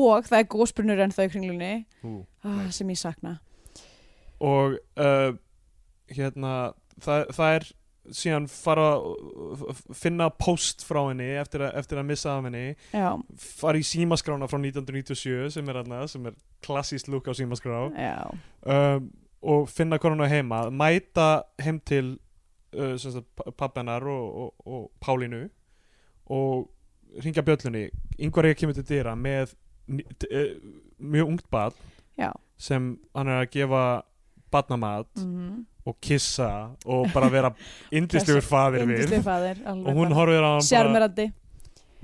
og það er gósbrunur ennþá í kringlunni
Ú,
ah,
Nei.
sem ég sakna
og uh, hérna það, það er síðan fara að uh, finna post frá henni eftir, a, eftir að missa af henni
já,
fara í símaskrána frá 1997 sem er, þarna, sem er klassíst lúk á símaskrá
já,
um, og finna konuna heima mæta heim til uh, sem sagt, pa- pabba hennar og, og, og Pálínu og ringja bjöllunni yngvar ég kemur til dyra með ný- t- eh, mjög ungt bad
já
sem hann er að gefa badnamat
mm
og kissa og bara
[LAUGHS]
vera indislegur faðir við
Yndislegur faðir, alveg
og hún
bara.
horfir á hann bara
Sjarmerandi.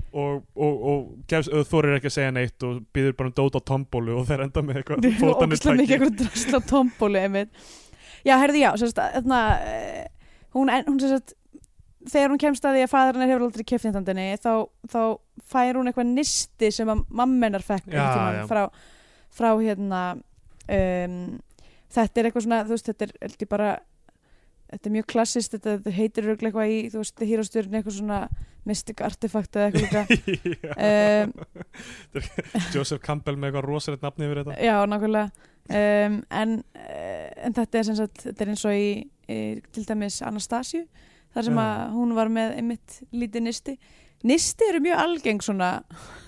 og, og, og gefst, þorir ekki að segja neitt og býður bara um dót á tombólu og þeir enda með
[LAUGHS]
eitthvað
ógislega mikið
fótanutæki. [LAUGHS]
eitthvað drasla tombóli einmitt. já, herði já sérst, þarna, eh, hún, en- hún sérst, þegar hún kemst að því að fadur hennar hefur aldrei keft nýttandinni þá, þá fær hún eitthvað nisti sem að mammenar fekk
Já,
einhvern tímann
já.
frá, frá hérna um, þetta er eitthvað svona þú veist, þetta er heldur bara þetta er mjög klassist, þetta, þetta heitir örugglega eitthvað í, þú veist, hýrastjörn eitthvað svona mystic artefakt eða eitthvað
[LAUGHS]
líka
Já.
um,
Joseph Campbell með eitthvað rosalegt nafni yfir þetta
Já, nákvæmlega um, en, eh, en þetta er sem sagt þetta er eins og í, í til dæmis Anastasíu, þar sem
Já.
að hún var með einmitt lítið nisti Nisti eru mjög algeng svona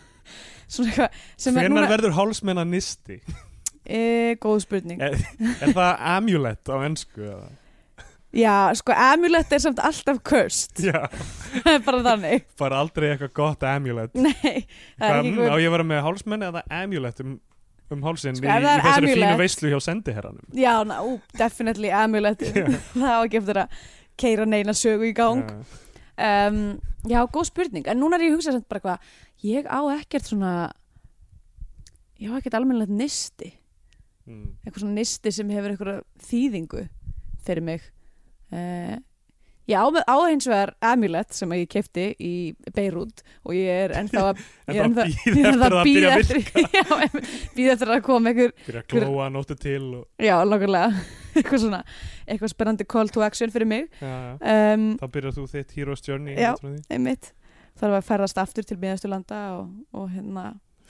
[LAUGHS] svona eitthvað sem
Hvenær
er núna
verður hálsmenna nisti?
e, góð spurning
er, er það amulet á ennsku?
[LAUGHS]
eða?
Já, sko, amulett er samt alltaf cursed [LAUGHS]
Já,
Það er bara þannig
fara aldrei eitthvað gott amulet
Nei, það er
Hvað,
ekki
mm, Á
góð
ég að vera með hálsmenn eða amulet um, um hálsinn
Sko,
í,
ef
í
það er
þessari
amulet-
fínu veislu hjá
[LAUGHS]
sendiherranum
Já, ná, definitely
[LAUGHS]
amulett Það á ekki eftir að keira neina sögu í gang
Já.
um, Já, góð spurning En núna er ég að hugsa samt bara hvað Ég á ekkert svona Ég á ekkert almennilegt nisti
Mm.
Eitthvað svona nisti sem hefur eitthvað þýðingu Fyrir mig uh, Ég á, á hins vegar Amulet sem að ég kefti í Beirut Og ég er ennþá
[LAUGHS]
að
En
ég er
það
ennþá-
býð
[LAUGHS] ég er
eftir að það byrja að
ennþá
virka
[LAUGHS] virka Býð eftir að koma einhver
Byrja að glóa nóttu til og,
Já, lókulega [LAUGHS] Eitthvað svona Eitthvað spennandi call to action fyrir mig
já, já.
um,
Þá byrjar þú þitt Hero's Journey
Já.
út frá því.
einmitt þarf að ferðast aftur til miðasturlanda og, og hérna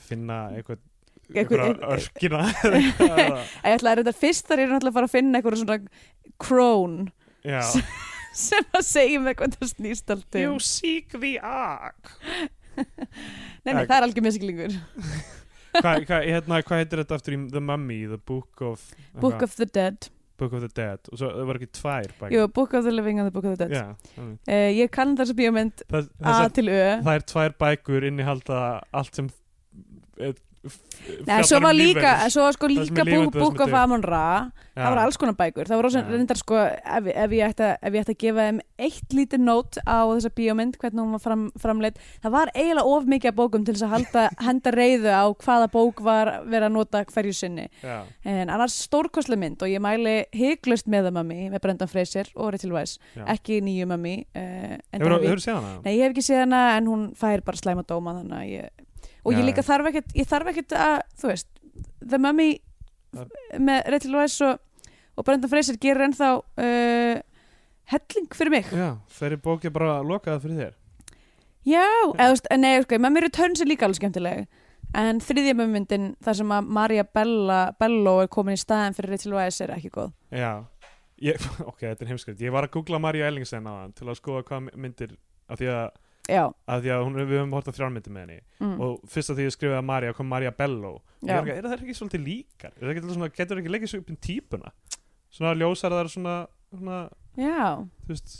Finna eitthvað
Eitthvað-
Eitthvað
[LAUGHS]
örkina eða eitthvað.
ég ætla að reynda fyrst þar er náttúrulega að fara að finna eitthvað svona krón
Já.
[LAUGHS] sem að segja mig hvað það snýst allt um
seek the ark
nei, nei, það er algjör misklingur
Hvað hva, hérna, hva heitir þetta aftur í The Mummy, The Book of
Book of the Dead
Book of the Dead og svo það var ekki tvær bækur.
Jú, Book of the Living and the Book of the Dead yeah.
Já, einmitt.
ég kann þessu bíómynd
það,
A
það,
til Ö
það er tvær bækur innihalda allt sem eh, f-
Nei,
fjallar
svo
um
var
lífeyris.
líka, svo var sko
sem er
líka
lifandi og það
Book,
sem
book
er
of
dauð.
Amon Ra
Já.
það voru alls konar bækur, það voru rosa
Já.
reyndar sko ef, ef, ég ætti, að- ef ég ætti að gefa þeim eitt lítið nót á þessa bíómynd hvernig hún var fram, framleitt, það var eiginlega of mikið af bókum til þess að halda,
[LAUGHS]
henda reyðu á hvaða bók var verið að nota hverju sinni,
Já,
en annars stórkostlega mynd og ég mæli hyglust með það mami með Brendan Fraser og Rachel Weisz
já.
ekki nýju mami uh,
Hefur þú séð hana?
Nei, ég hef ekki séð hana en hún fær bara slæma dóma þannig að ég og
Já,
ég líka
já.
þarf ekkert, ég þarf ekkert að þú veist, The Mummy
Það-
með Rachel Weisz og, og Brendan Fraser gerir ennþá uh, helling fyrir mig
Já, þeirri bóki bara lokaða fyrir þér
Já, eða þú veist, en nei, sko, Mummy Returns er líka alveg skemmtileg en þriðja mömmyndin þar sem að Maria Bella, Bello er komin í staðin fyrir Rachel Weisz er ekki góð
Já, ég, [LAUGHS] ok, þetta er heimskrift Ég var að googla Marja Ellingsen á hann til að skoða hvað myndir af því að,
já,
af því að hún, við höfum hort á þrjármyndir með henni
mm,
og fyrst að því ég skrifaði að Marja kom Marja Bello Ég
Já.
var ekki, er það ekki svolítið líkar? Er það ekki svona, getur ekki leikið svo upp í típuna? Svona ljósar það er svona, svona
já,
þú veist,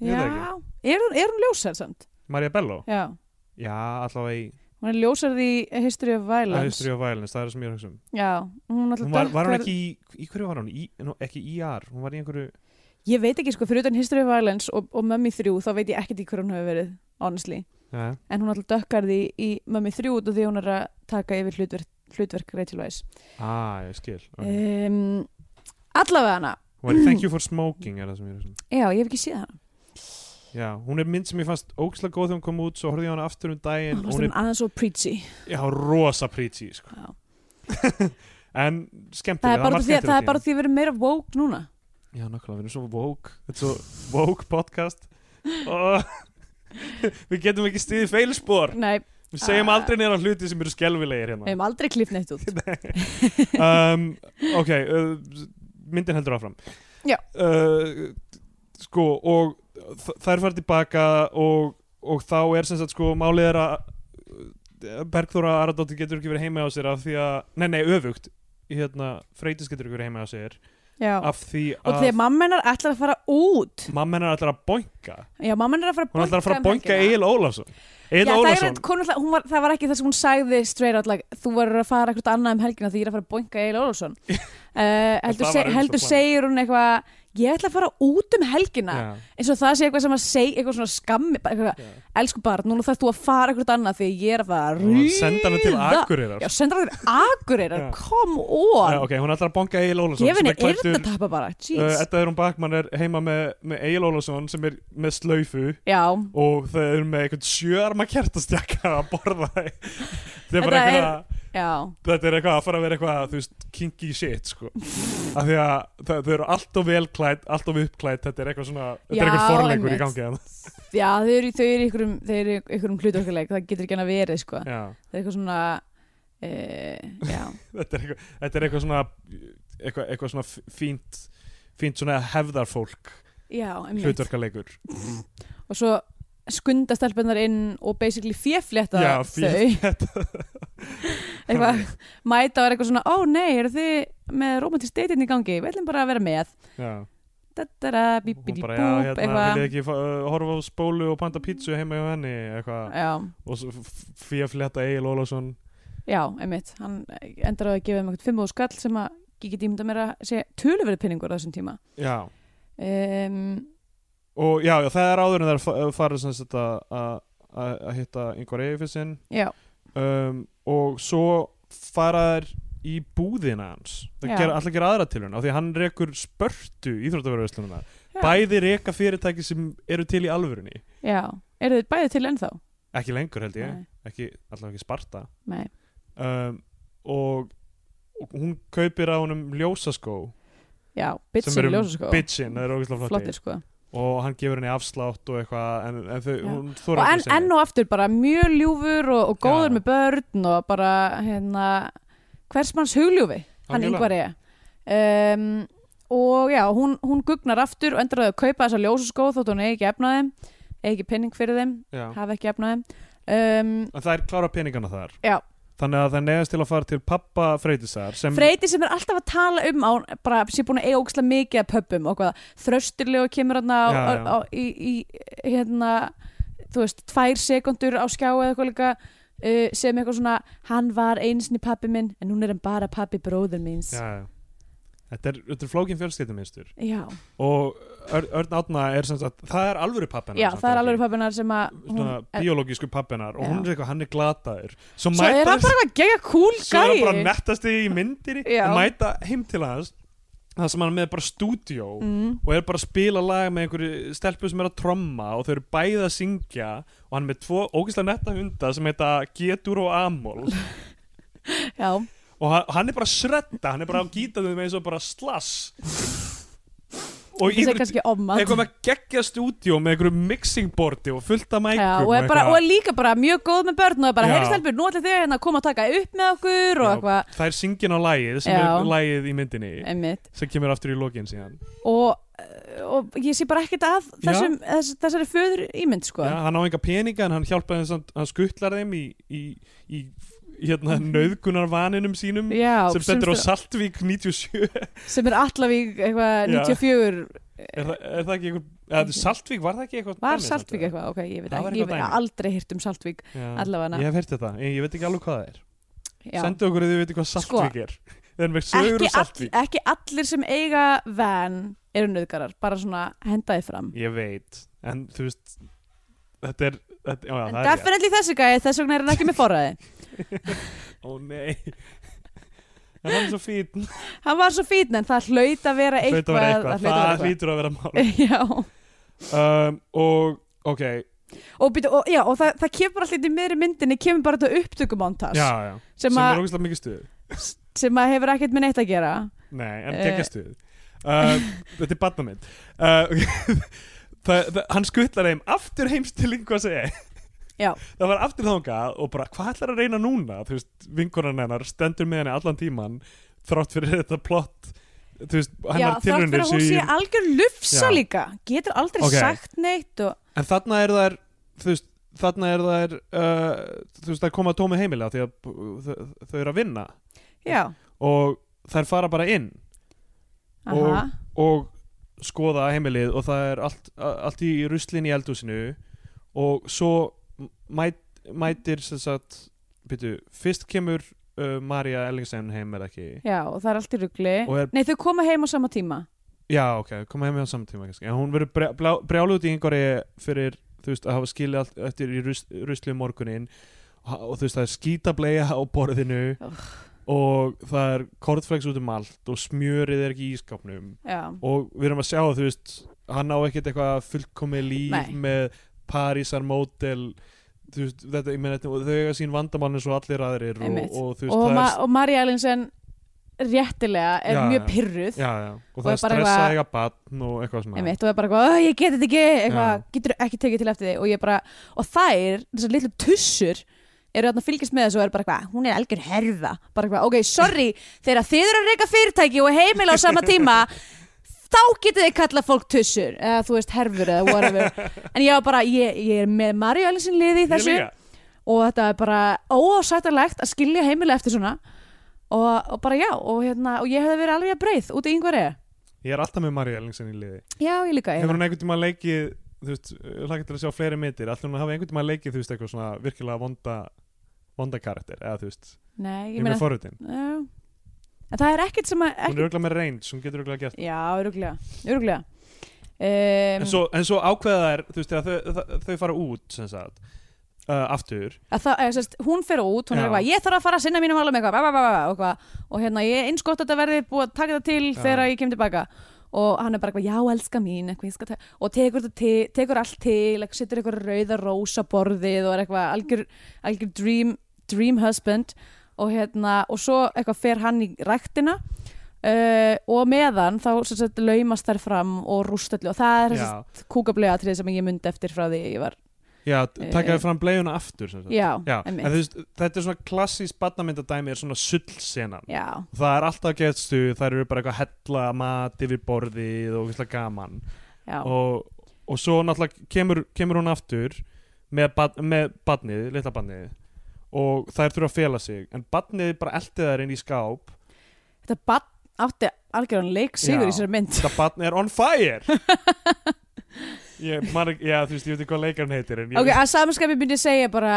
Ég veit
já. Er, hún, er hún ljósar samt?
Marja Bello?
já,
Já, allavega í
hún er ljósar í History of
að
Violence
History of Violence, það er það sem ég er að hugsa um
já, hún,
Hún var, var hún ekki í, í hverju var hún? Í, nú, ekki í IR, hún var í einhverju
Ég veit ekki sko, fyrir utan History of Violence og, og Mummy 3 þá veit ég ekkert í hver hún hefur verið, honestly.
ja.
En hún alltaf dökkar því í Mummy 3 út og því hún er að taka yfir hlutverk, hlutverk Rachel Weisz.
Ah, ég skil okay.
Okay. Um, allavega hana.
Hún var í Thank You for Smoking, er það sem ég er að hugsa um
Já, ég hef ekki séð hana.
Já, hún er mynd sem ég fannst ógslag góð þegar hún kom út svo horfði ég á hana aftur um daginn
Hún
og
fannst
hún
hún aðeins og preachy.
er já, rosa prítsi sko.
Já.
en skemmtileg
Það er bara
var
því,
skemmtileg
það er
tími.
bara því að vera meira woke núna.
Já, nákvæmlega, við erum svo woke Þetta er svo woke podcast og [LAUGHS] við getum ekki stiðið feilspor
Nei,
við segjum
Ah.
aldrei neina hluti sem eru skelfilegir
við
hérna
hefum aldrei klipt neitt út.
[LAUGHS] um, Ok, uh, myndin heldur áfram
Já.
uh, Sko, og þ- þær fara tilbaka og, og þá er sem sagt sko málið er að uh, Bergþóra Aradóttir getur ekki verið heima á sér af því að, nei nei öfugt hérna, Freytis getur ekki verið heima á sér
Já.
af því
og þegar
að
mamma hennar ætlar að fara út.
mamma hennar ætlar að boinka
Já, mamma hennar er að fara að
hún ætlar að fara að
um
boinka
helgina.
Egil Ólafsson
Já,
Egil
það, er,
Ólafsson
reynd- hún, ætla- hún var, það var ekki það sem hún sagði straight out like, þú verður að fara eitthvað annað um helgina því ég er að fara að boinka
[LAUGHS]
Egil Ólafsson uh, heldur,
það
se,
var eins og
heldur
plan.
segir hún eitthvað ég ætla að fara út um helgina
Já,
eins og það sé eitthvað sem að segja eitthvað svona skammi bara eitthvað,
já.
elsku barn, núna þarf þú að fara eitthvað annað því ég er að fara að
Hún senda hana til
ríða."
Akureyrar
Já, senda hana til Akureyrar,
Já.
come
Já,
on
ok, hún ætlar að bonga Egil Ólafsson
gef
sem
henni
er klæddur-
eyrnatappa bara,
Uh,
jeez
Edda Þurrum Bakmann er heima með, með Egil Ólafsson sem er með slaufu
Já,
og þau eru með einhvern sjöarma kertastjaka að borða [LAUGHS] þetta er bara
Þetta er-
eitthvað
já,
þetta er eitthvað að fara að vera eitthvað þú veist, kinky shit sko af því að þau, þau eru allt of vel klætt allt of uppklætt, þetta er eitthvað svona þetta
Já,
er eitthvað forleikur í
einmitt.
gangi þarna.
[LAUGHS] já þau eru, þau eru í einhverjum, þau eru í einhverjum hlutorkuleik, það getur ekki hann að verið sko.
Já,
það er eitthvað svona uh, já,
þetta, er eitthvað, þetta er eitthvað svona eitthvað, eitthvað svona f- fínt fínt svona hefðarfólk
já einmitt.
hlutverkaleikur
og svo skunda stelpunar inn og basically fjeflétta
Já,
þau
fínt
[LAUGHS] eitthvað, mæta og er eitthvað svona ó nei, eru þið með romantist dateinn í gangi við ætlum bara að vera með
Já
Dadara, bí, bí,
hún
bí,
bara,
bú,
já, hérna,
eitthvað
vil ég ekki fá- uh, horfa á spólu og panta pítsu heima hjá henni eitthvað,
já,
og svo fyrir að fletta Egil Ólafsson
já, einmitt hann endar á að gefa um eitthvað fimm og skall sem að ég get ímynda mér að segja töluverið pinningur á þessum tíma
já,
um,
og já, já það er áður en það er fa- farið sem þetta að að hitta yngvar Eifisinn
já,
um, og svo fara þær í búðina hans það
Já.
ger, allir gera aðra til hún, af því að hann rekur spörtu íþróttaverðarverslununa
Já.
bæði reka fyrirtæki sem eru til í alvörunni
já eru þið bæðið til ennþá?
ekki lengur held ég,
Nei,
ekki, allavega ekki sparta
nei,
um, og, og hún kaupir á honum ljósaskó
já, bitsin
sem eru
ljósa sko
bitchin, það er ógeðslega
flottir
flottir
sko
og hann gefur henni afslátt og eitthvað en, en þau,
Já.
hún
og
þóra
enn, enn og aftur bara mjög ljúfur og, og góður
Já.
með börn og bara hérna hvers manns hugljúfi hann yngvar ég um, og já, hún, hún gugnar aftur og endur að kaupa þessa ljósaskó þótt hún eigi ekki efna á þeim eigi ekki penning fyrir þeim,
en
hafi ekki efna þeim um,
það er klára peningana þar
Já.
þannig að það nefnist til að fara til pappa Freytisar sem
Freyti sem er alltaf að tala um á, bara sé búin að eiga ókslega mikið að pöppum og hvað, þröstirlegu kemur hann á,
Já,
á,
já.
á í, í, hérna þú veist, tvær sekundur á skjá eða eitthvað líka uh, sem eitthvað svona, hann var einsinni pappi minn en núna er hann bara pappi bróður minns
já, já. Þetta er, þetta er flókin fjölskyldumynstur
já,
og Ör, Örn Átna er sem sagt það er alvöru pappinar
já, það er alveg pappinar sem að hún,
Svona, biológísku pappinar og
Já.
hún er eitthvað, hann er glataður svo,
svo er hann bara eitthvað gegja cool
svo er hann bara
gæi
nettasti í myndinni
Já.
og mæta heim til hans það sem hann er með bara stúdíó
mm,
og er bara að spila lag með einhverju stelpu sem er að tromma og þau eru bæði að syngja og hann er með tvo ógeðslega netta hunda sem heita Getur og
[LAUGHS]
Amol
já,
og hann, hann er bara að sredda, hann er bara að gíta þau með eins og bara slass og
það er
yfir-
kannski ofmat
eitthvað með geggja stúdíó með einhverju mixing boardi og fullt af mækum
Já, og, er bara, og er líka bara mjög góð með börn og er bara,
Já.
heyrðu stelpur, nú ætla þið hérna að koma að taka upp með okkur og eitthvað,
það er syngin á lægið sem
Já.
er lægið í myndinni
einmitt
sem kemur aftur í lokin síðan
og, og ég sé bara ekkert að
Já.
þessum, þess, þessari föður ímynd sko.
Já, hann á enga peninga en hann hjálpaði þess að hann skuttlar þeim í, í, í hérna, nöðgunarvaninum sínum
Mhm. Já,
sem
sem,
stendur á Saltvík 97
[LAUGHS]
er,
sem er allavík eitthvað
Já.
94
það, er það ekki eitthvað, eða, Saltvík var það ekki eitthvað
var
dæmi, samt,
Saltvík eitthvað, ok, ég veit
Það var
ekki ég
eitthvað
hef
dæmi.
aldrei hýrt um Saltvík
eða? Já.
allavega.
ég hef heyrt þetta, ég, ég veit ekki alveg hvað það er
Já.
sendu okkur ef þið veitir hvað
Sko.
Saltvík er [LAUGHS] það er með sögur
ekki,
og Saltvík
all, ekki allir sem eiga van eru nöðgarar, bara svona hendaði fram
ég veit, en þú veist þetta er, þetta, ó, já,
en
það er ég
definitely þessi gæði, þess vegna er hann ekki með
[LAUGHS]
forræði
ó nei [LAUGHS] en hann er svo fín
hann var svo fín en það hlaut að vera
Hlaut að
eitthvað
vera eitthvað. það hlýtur að vera mál
eitthvað. [LAUGHS] Já.
um, og ok,
og, býtu, og, já, og það, það kemur alltaf í miðri myndinni kemur bara þetta upptökumontas
já, já
sem,
sem
að-
er ógæslega mikið stuð
sem að hefur ekkert með neitt að gera
Nei, en
Eh.
geggja stuð uh, Þetta er batna mitt uh, [LAUGHS] það, það, Hann skuttlar þeim aftur heims til einhvað segi
Já.
Það var aftur þangað og bara hvað ætlar að reyna núna þú veist, vinkonan hennar stendur með henni allan tíman þrátt fyrir þetta plott þú veist,
já,
hennar
þrátt
tilraunir
fyrir að hún
séu
sé
í-
algjör lufsa
Já.
líka getur aldrei
Ok.
sagt neitt og,
En þarna er það þú veist, þarna er það er uh, þú veist, það koma tómi heimila því að þau, þau eru að vinna
já,
og þær fara bara inn
aha,
og skoða heimilið og það er allt, allt í ruslin í eldhúsinu og svo mæt, mætir sem sagt, byrju, fyrst kemur uh, Marja Ellingsen heim er ekki
já, og það er allt í rugli
og er,
nei, þau koma heim á sama tíma
já ok, koma heim á samtíma kannski, en hún verður brjá- blá- brjáluð út í einhverju fyrir, þú veist, að hafa skilið allt eftir í rus, rusli morgunin og, og þú veist, það er skítableia á borðinu og það er kortflex út um allt og smjörið er ekki í ískapnum
já,
og við erum að sjá þú veist, hann á ekkert eitthvað fullkomi líf
Nei.
með Parísar mótel þú veist, þetta, ég meina þetta, og þau eiga sín vandamann eins og allir aðrir og,
Einmitt.
og þú veist,
og,
það
ma
er
og Marja Ellinsen réttilega er
Já, já.
mjög pyrruð
já, já, og
og
það er
bara
stressa
eitthvað-
að eiga batn og eitthvað svona
Einmitt, og er bara eitthvað, "Ó, ég get þetta ekki
Já.
eitthvað, getur ekki tekið til eftir þig og, ég bara, og þær, þessar litlu tussur eru þarna að fylgjast með þessu og eru bara eitthvað hún er algjör herða, bara eitthvað, ok, sorry þegar þið eru að reyka fyrirtæki og heimila á sama tíma þá getið þið kallað fólk tussur eða þú veist herfur eða whatever en ég var bara, ég, ég er með Maríu Ellisin liði í
Ég
þessu
líka.
og þetta er bara óásættanlegt að skilja heimila eftir svona og, og bara já, og, hérna, og ég hefði verið alveg að breið út í yngvar eða
ég er alltaf með Marja Ellingsen í liði
já, ég líka, ég
hefur hún einhvern tíma leikið þú veist, hlakka til að sjá fleiri myndir alltaf hún hafa einhvern tíma leikið, þú veist, eitthvað svona virkilega vonda, vonda karakter eða þú veist,
nei,
ég
ég
er
meina
með forrutin
Já. En það er ekkert sem að
hún
ekki...
er örgulega með range, hún getur örgulega gert
Já, öruglega, öruglega. Um,
en svo, en svo ákveða þær þú veist, þegar þau, þau, þau fara út sem sagt, uh, aftur
að það, eða, sérst, hún fer út, hún
Já.
er eitthvað ég þarf að fara að sinna mínum álum eitthvað, bá, bá, bá, bá, og, eitthvað. og hérna ég eins gott að þetta verði búið að taka þetta til
Já.
þegar ég kem tilbaka og hann er bara eitthvað, já, elska mín eitthvað, ég skal ta- og tekur, þetta til, tekur allt til eitthvað, setur eitthvað rauða rósa á borðið og er eitthvað algjör, algjör dream, dream husband og hérna, og svo eitthvað fer hann í ræktina uh, og meðan þá sem sagt, laumast þær fram og rúst öllu og það er þessi
já,
kúkablið atrið sem ég myndi eftir frá því ég var,
já takaði fram bleiuna aftur sem sagt.
Eh, já,
já, en
einmitt.
þú veist, þetta er svona klassís badnamyndadæmi er svona sullsenan
já
það er alltaf getstu, þær eru bara eitthvað að hella mat yfir borðið og eitthvað gaman
Já,
og, og svo náttúrulega kemur, kemur hún aftur með, bad, með badnið, litla badnið og þær þurfa að fela sig en badnið bara eldi þær inn í skáp
þetta bann átti algjörðan leik sigur
Já.
í þessari mynd
Þetta barn er on fire [LAUGHS] ég, man, ekki- Já, þú veist, ég veit ekki hvað leikarn heitir en ég
[LAUGHS] Ok, að samanskapi myndi ég segja bara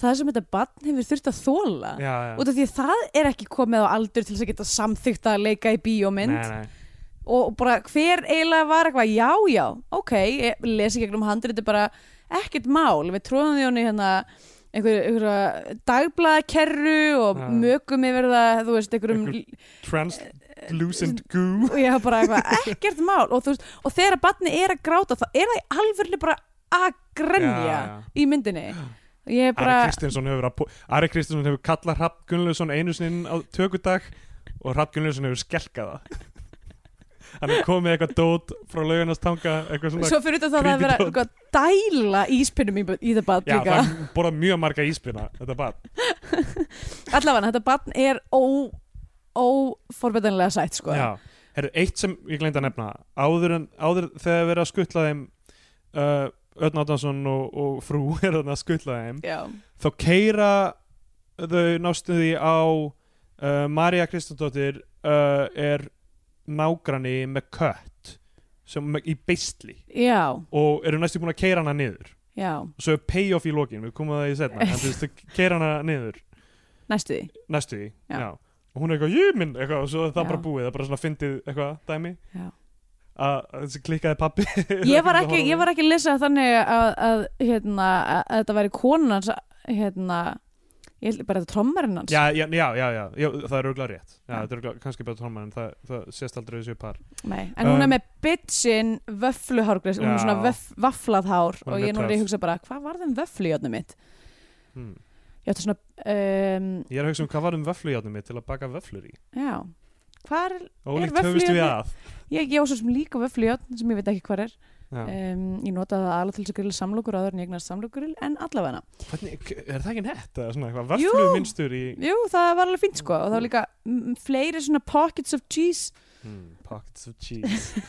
það sem þetta bann hefur þurft að þóla
já, já.
út af því að það er ekki komið á aldur til þess að geta samþykta að leika í bíómynd
Nei, nei.
og bara hver eiginlega var eitthvað já, já, ok, ég lesi gegnum handrið, þetta er bara ekkert mál við tróðum því honni hérna einhverja einhver dagblaðakerru og
Já.
mögum yfir það, þú veist, einhverjum
Einhver- Translucent goo
og ég haf bara eitthvað ekkert mál og, þú veist, og þegar barni er að gráta þá er það í alvörli bara að grenja
Já, já.
í myndinni og ég er bara
Ari Kristinsson hefur, að po- Ari Kristinsson hefur kallað Rapp Gunnlaugsson einu sinni inn á tökudag og Rapp Gunnlaugsson hefur skelkað það [LAUGHS] hann er komið eitthvað dót frá laugarnastanga eitthvað svona
Svo fyrir þetta að það
creepy
vera
dot.
eitthvað að dæla íspinnum í, í það bad
já,
líka.
það borða mjög marga íspina þetta bad,
Allavega, þetta barn er ó, óforbetanlega sætt, sko.
já Heru, eitt sem ég gleyndi að nefna áður, en, áður þegar verið að skuttla þeim uh, Ötn Átnason og, og frú [LAUGHS] er þarna að skuttla þeim
Já.
þá keira þau nástu því á uh, Marja Kristjándóttir uh, er nágrani með kött sem með, í beisli
Já,
og eru næstu búin að keira hana niður
já,
og svo er payoff í lokin, við komum að það í setna en þú veist, þau keira hana niður
næstu því.
næstu því,
Já.
já, og hún er eitthvað, jú minn eitthvað, og svo er það
Já.
bara búið, það er bara svona fyndið eitthvað dæmi
Já.
að að þessi klikkaði pappi [LAUGHS]
Ég var ekki, ég var ekki að lesa þannig að, að, hérna, að, að þetta væri konan hans, hérna, ég held bara þetta trommarinn hans.
já, já, já, já, já, já, það er auðvitað rétt já,
Já.
þetta er auðvitað kannski betur tónmæður en það, það sést aldrei þessu par
Nei, en hún er
Um,
með bitchin vöfluhárgræs, hún er
Já.
svona vöf, vaflað hár
Hún er
og
með
ég núna er
töff.
ég að hugsa bara, hvað var þeim vöflu í öllum mitt?
hmm.
Ég ætti svona, um,
ég er að hugsa um hvað var um vöflujátnum mitt til að baka vöflur í
já, hvað er,
ólíkt
vöflujárnið-
höfust við að
ég, ég á svo sem líka vöfluhjörn sem ég veit ekki hvað er.
já.
Um, ég notaði það alveg til þess að grilla samlokur áður en ég eignast samlokuril, en allavega
Hvernig, er það ekki nett að svona eitthvað
Jú.
vöflu minnstur í
Jú, það var alveg fínt sko og það var líka mm, fleiri svona pockets of cheese
hmm, pockets of cheese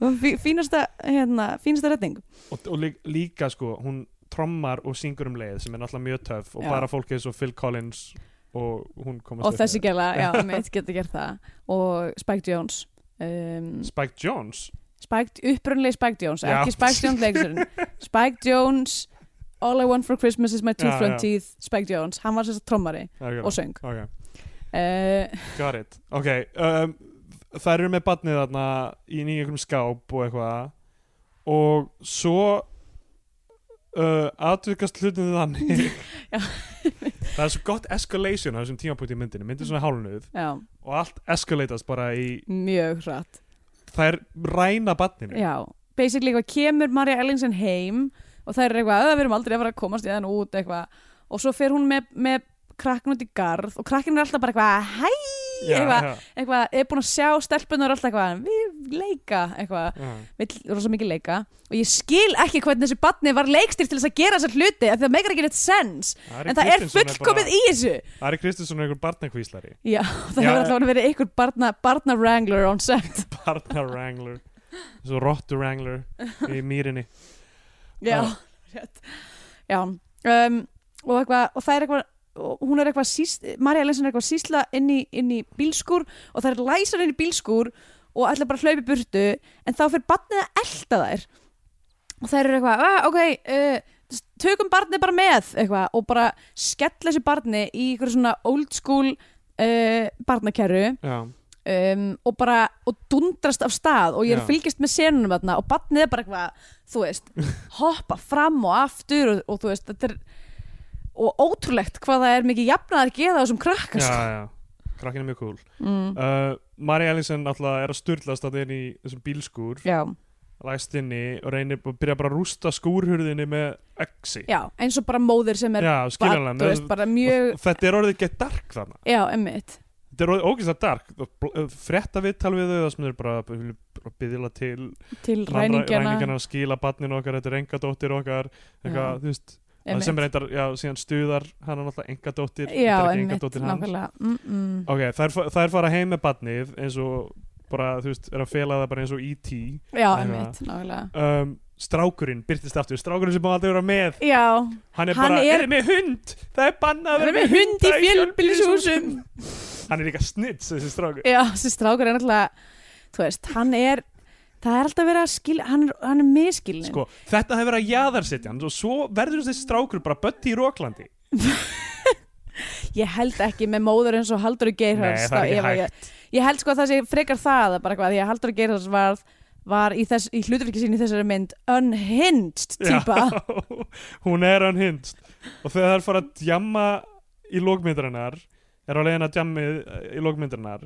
og fí- fínasta, hérna, fínasta redding
og, og lí, líka sko, hún trommar og syngur um leið sem er náttúrulega mjög töf og
Já.
bara fólk eins og Phil Collins og hún komast
og
upp
þessi
með.
gæla,
[LAUGHS]
já, mitt getur gert það og Spike Jones um,
Spike Jones
Spike, upprunlega Spike Jones,
Já.
ekki Spike Jones
[LAUGHS]
leikurinn Spike Jones All I want for Christmas is my two
Já,
front
já.
teeth Spike Jones, hann var sérst trommari
okay,
og söng
okay.
uh,
got it ok, um, þær eru með badnið þarna í nýjum einhverjum skáp og eitthvað og svo uh, atvikast hlutinu þannig
[LAUGHS] Já.
[LAUGHS] það er svo gott escalation á þessum tímapunkt í myndinu myndin er svona hálnuð
já,
og allt escalatast bara í
mjög hratt
þær ræna badninu
já, basically eitthvað kemur Marja Ellingsen heim og það er eitthvað, "Ö, við erum aldrei að fara að komast í þenn út eitthvað og svo fer hún með, með krakkin út í garð og krakkin er alltaf bara eitthvað hæ, eitthvað, eitthvað er búin að sjá stelpunar alltaf eitthvað, við leika eitthvað,
já.
við rosa mikið leika og ég skil ekki hvernig þessi batni var leikstýrt til þess að gera þessar hluti af því það meikar ekki neitt sens
Ari
en það er
Kristinsson
fullkomið
bara-
í þessu
Ari Kristinsson er einhver barnakvíslari
já, [LAUGHS] það
Já,
hefur
eh.
alltaf verið einhver barna, barna wrangler on set
Barna-wrangler Svo rottu-wrangler í mýrinni
Já, rétt Já, um, og, eitthvað, og það er eitthvað og hún er eitthvað síst, Marja Lensen er eitthvað að sísla inn í, inn í bílskur og það er læsar inn í bílskur og ætla bara að hlaupa í burtu en þá fyrir barnið að elta þær og þær eru eitthvað, ah, ok uh, tökum barnið bara með eitthvað og bara skella þessu barni í ykkur svona old school uh, barnakerru
Já,
um, og bara og dundrast af stað og ég
Já.
er að fylgjast með senunum þarna og barnið er bara eitthvað, þú veist
[LAUGHS]
hoppa fram og aftur og, og þú veist, þetta er og ótrúlegt hvað það er mikið jafnaðar geða á þessum
já,
sko. krakkast
já Krakkin er mjög cool
mm,
uh, Mari Ellingsen náttúrulega er að styrlast að inn í þessum bílskúr
já,
læst inni og reynir og byrja bara að rústa skúrhurðinni með exi
já, eins og bara móðir sem er
Já,
barn, þú
skiljanlega
veist,
með-
bara
og
mjög
Þetta er orðið gett dark þarna
já, emmitt,
Þetta er orðið ógeðslega dark Og bl- uh, Frétta viðtal við þau það sem er bara að byðla til
til
ræningjana,
ræningjana,
ræningjana skila barninu okkar, þetta er engadóttir okkar eitthvað,
Já.
þú veist, að
einmitt.
sem reyndar já, síðan stuðar hann er náttúrulega engadóttir
já,
þetta er ekki
emmitt,
engadóttir hans
nákvæmlega mm -mm.
ok, þær, fa- þær fara heim með barnið eins og bara, þú veist, er að fela það bara eins og E.T.
já,
Æfa.
emmitt, nákvæmlega
Um, strákurinn, byrtist aftur, strákurinn sem má aldrei vera með
já,
hann er
Hann
bara,
er-
er, með hund það er bannað að
það er
vera
með hund í
hunda
fjölbýlishúsum
fjölbýlishúsum. hann er líka snitts, þessi strákur
Já, þessi strákur er náttúrulega þú veist, hann er það er alltaf verið að skilja, hann er, hann er miskilin
sko, þetta hefur verið að jaðarsetja hann og svo verður þessi strákur bara bötti í Róklandi
ég held ekki með móður eins og Haldur Geirhals
Nei, það er ekki
þá efa ég, ég held sko að það sé frekar það að bara hvað, því að Haldur Geirhals var var í, þess, í hlutverki sín í þessari mynd unhinged típa
Já, [LAUGHS] hún er hann hinst og þegar þær fara að djamma í lókmyndarinnar er á leiðin að djammi í lókmyndarinnar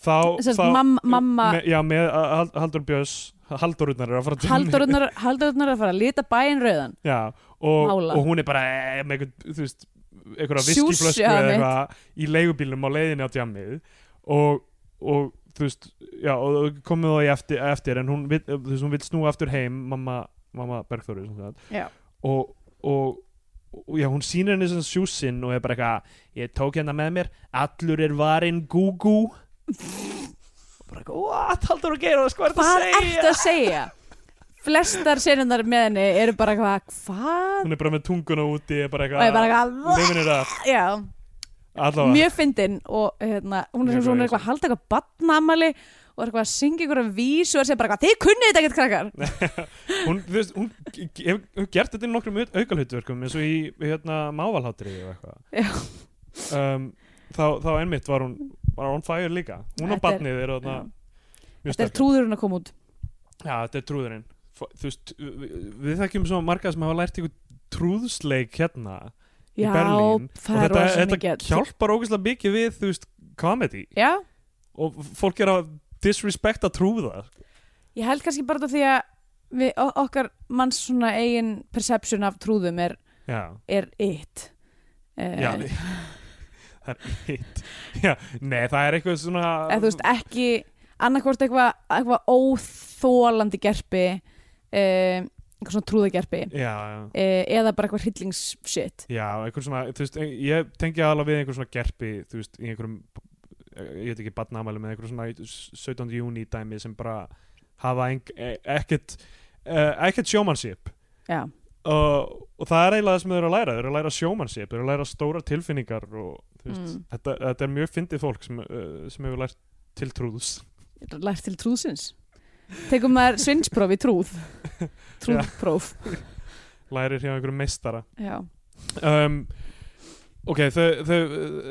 þá,
Sest,
þá
mam, mamma
me, já, með að- að- Halldór Björns Halldórurnar er að fara að djammi
Haldururnar Haldururnar er að fara að lita bæinn rauðan
já, og,
Mála.
og hún er bara eh, með einhvern, þú veist einhverja
Sjúss,
viskiflösku
já,
eða
mitt.
eitthvað í leigubílum á leiðinni á djammið og, og þú veist, já, og og komið það í eftir, eftir en hún vill, þú veist, hún vill snúa aftur heim mamma, mamma Bergþóru sem sagt.
Já.
og, og, og já, hún sýnir henni svona sjúsinn og er bara eitthvað, ég tók hérna með mér allur er varinn gúgú og bara eitthvað, what, haldur að gera hvað er það
Hvað
að segja?
ertu að segja? Flestar senundar með henni eru bara hvað, hvað?
hún er bara með tunguna úti er bara
Og ég bara
eitthvað,
eitthvað,
nefnir það
já,
allavega,
mjög fyndin og hérna, hún er
Mjög
sem svona
góð.
eitthvað að halda eitthvað badnamali og er eitthvað að syngja eitthvað vísu og er að segja bara eitthvað, þið kunnið þetta ekkert krakkar.
hún, þú veist, hún hefur hef gert þetta í nokkrum aukalhutverkum eins og í hérna, mávalhátri eða
Já.
eitthvað um, þá, þá einmitt var hún var on fire líka, hún og
Þetta er-
barnið er þarna mjög
Þetta er
sterkar.
trúðurinn að koma út.
Já, þetta er trúðurinn F- þú veist, við, við þekkjum svo marga sem hafa lært ykkur trúðsleik hérna Í
Já,
Berlín.
það er
og
rosa
þetta, þetta
mikið.
hjálpar ógeðslega mikið við þú veist, comedy
Já,
og fólk er að disrespekta trúða
Ég held kannski bara þetta því að við, o- okkar manns svona eigin perception af trúðum er,
Já,
er it. Eh,
já við- það er hitt Já, nei, það er eitthvað svona
eða þú veist ekki annarkvort eitthvað eitthva óþólandi gerpi eh, eitthvað svona trúðagerpi
Já, já
eh, eða bara eitthvað hryllingsshit
Já, einhver svona, þú veist, eh, ég tengi aðalega við einhver svona gerpi, þú veist, í einhverjum eh, ég veit ekki, barnamæli með einhver svona 17. júni dæmi sem bara hafa eng, e- ekkert uh, ekkert sjómanship
já,
og, Uh, og það er eiginlega það sem þau eru að læra þau eru að læra sjómanship, þau eru að læra stóra tilfinningar og þú veist,
Mm.
þetta, þetta er mjög fyndið fólk sem, uh, sem hefur lært til trúðs
lært til trúðsins tekum maður svinnspróf í trúð
[LAUGHS]
trúðpróf
lærir hjá einhverjum meistara
já,
um, ok, þau, þau,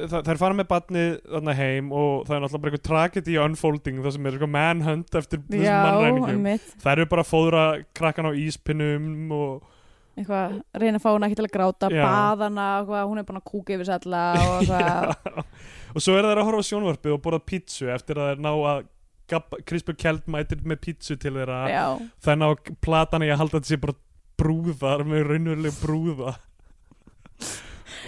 þau, þær fara með barnið þarna heim og það er náttúrulega bara eitthvað tragedy unfolding það sem er eitthvað manhunt eftir þessum mannræningum
einmitt,
þær eru bara að fóðra krakkan á íspinnum og
eitthvað reyna að fá hana ekki til að gráta
Já.
baðana, eitthvað, hún er búin að kúka yfir sér alla
[LAUGHS]
og eitthvað
og svo er þær að horfa á sjónvarpið og borða pítsu eftir að þær ná að gabba- Krispur Kjeld mætir með pítsu til þeirra
já,
þær ná að platan í að halda þessi bara brúðar með raunveruleg brúða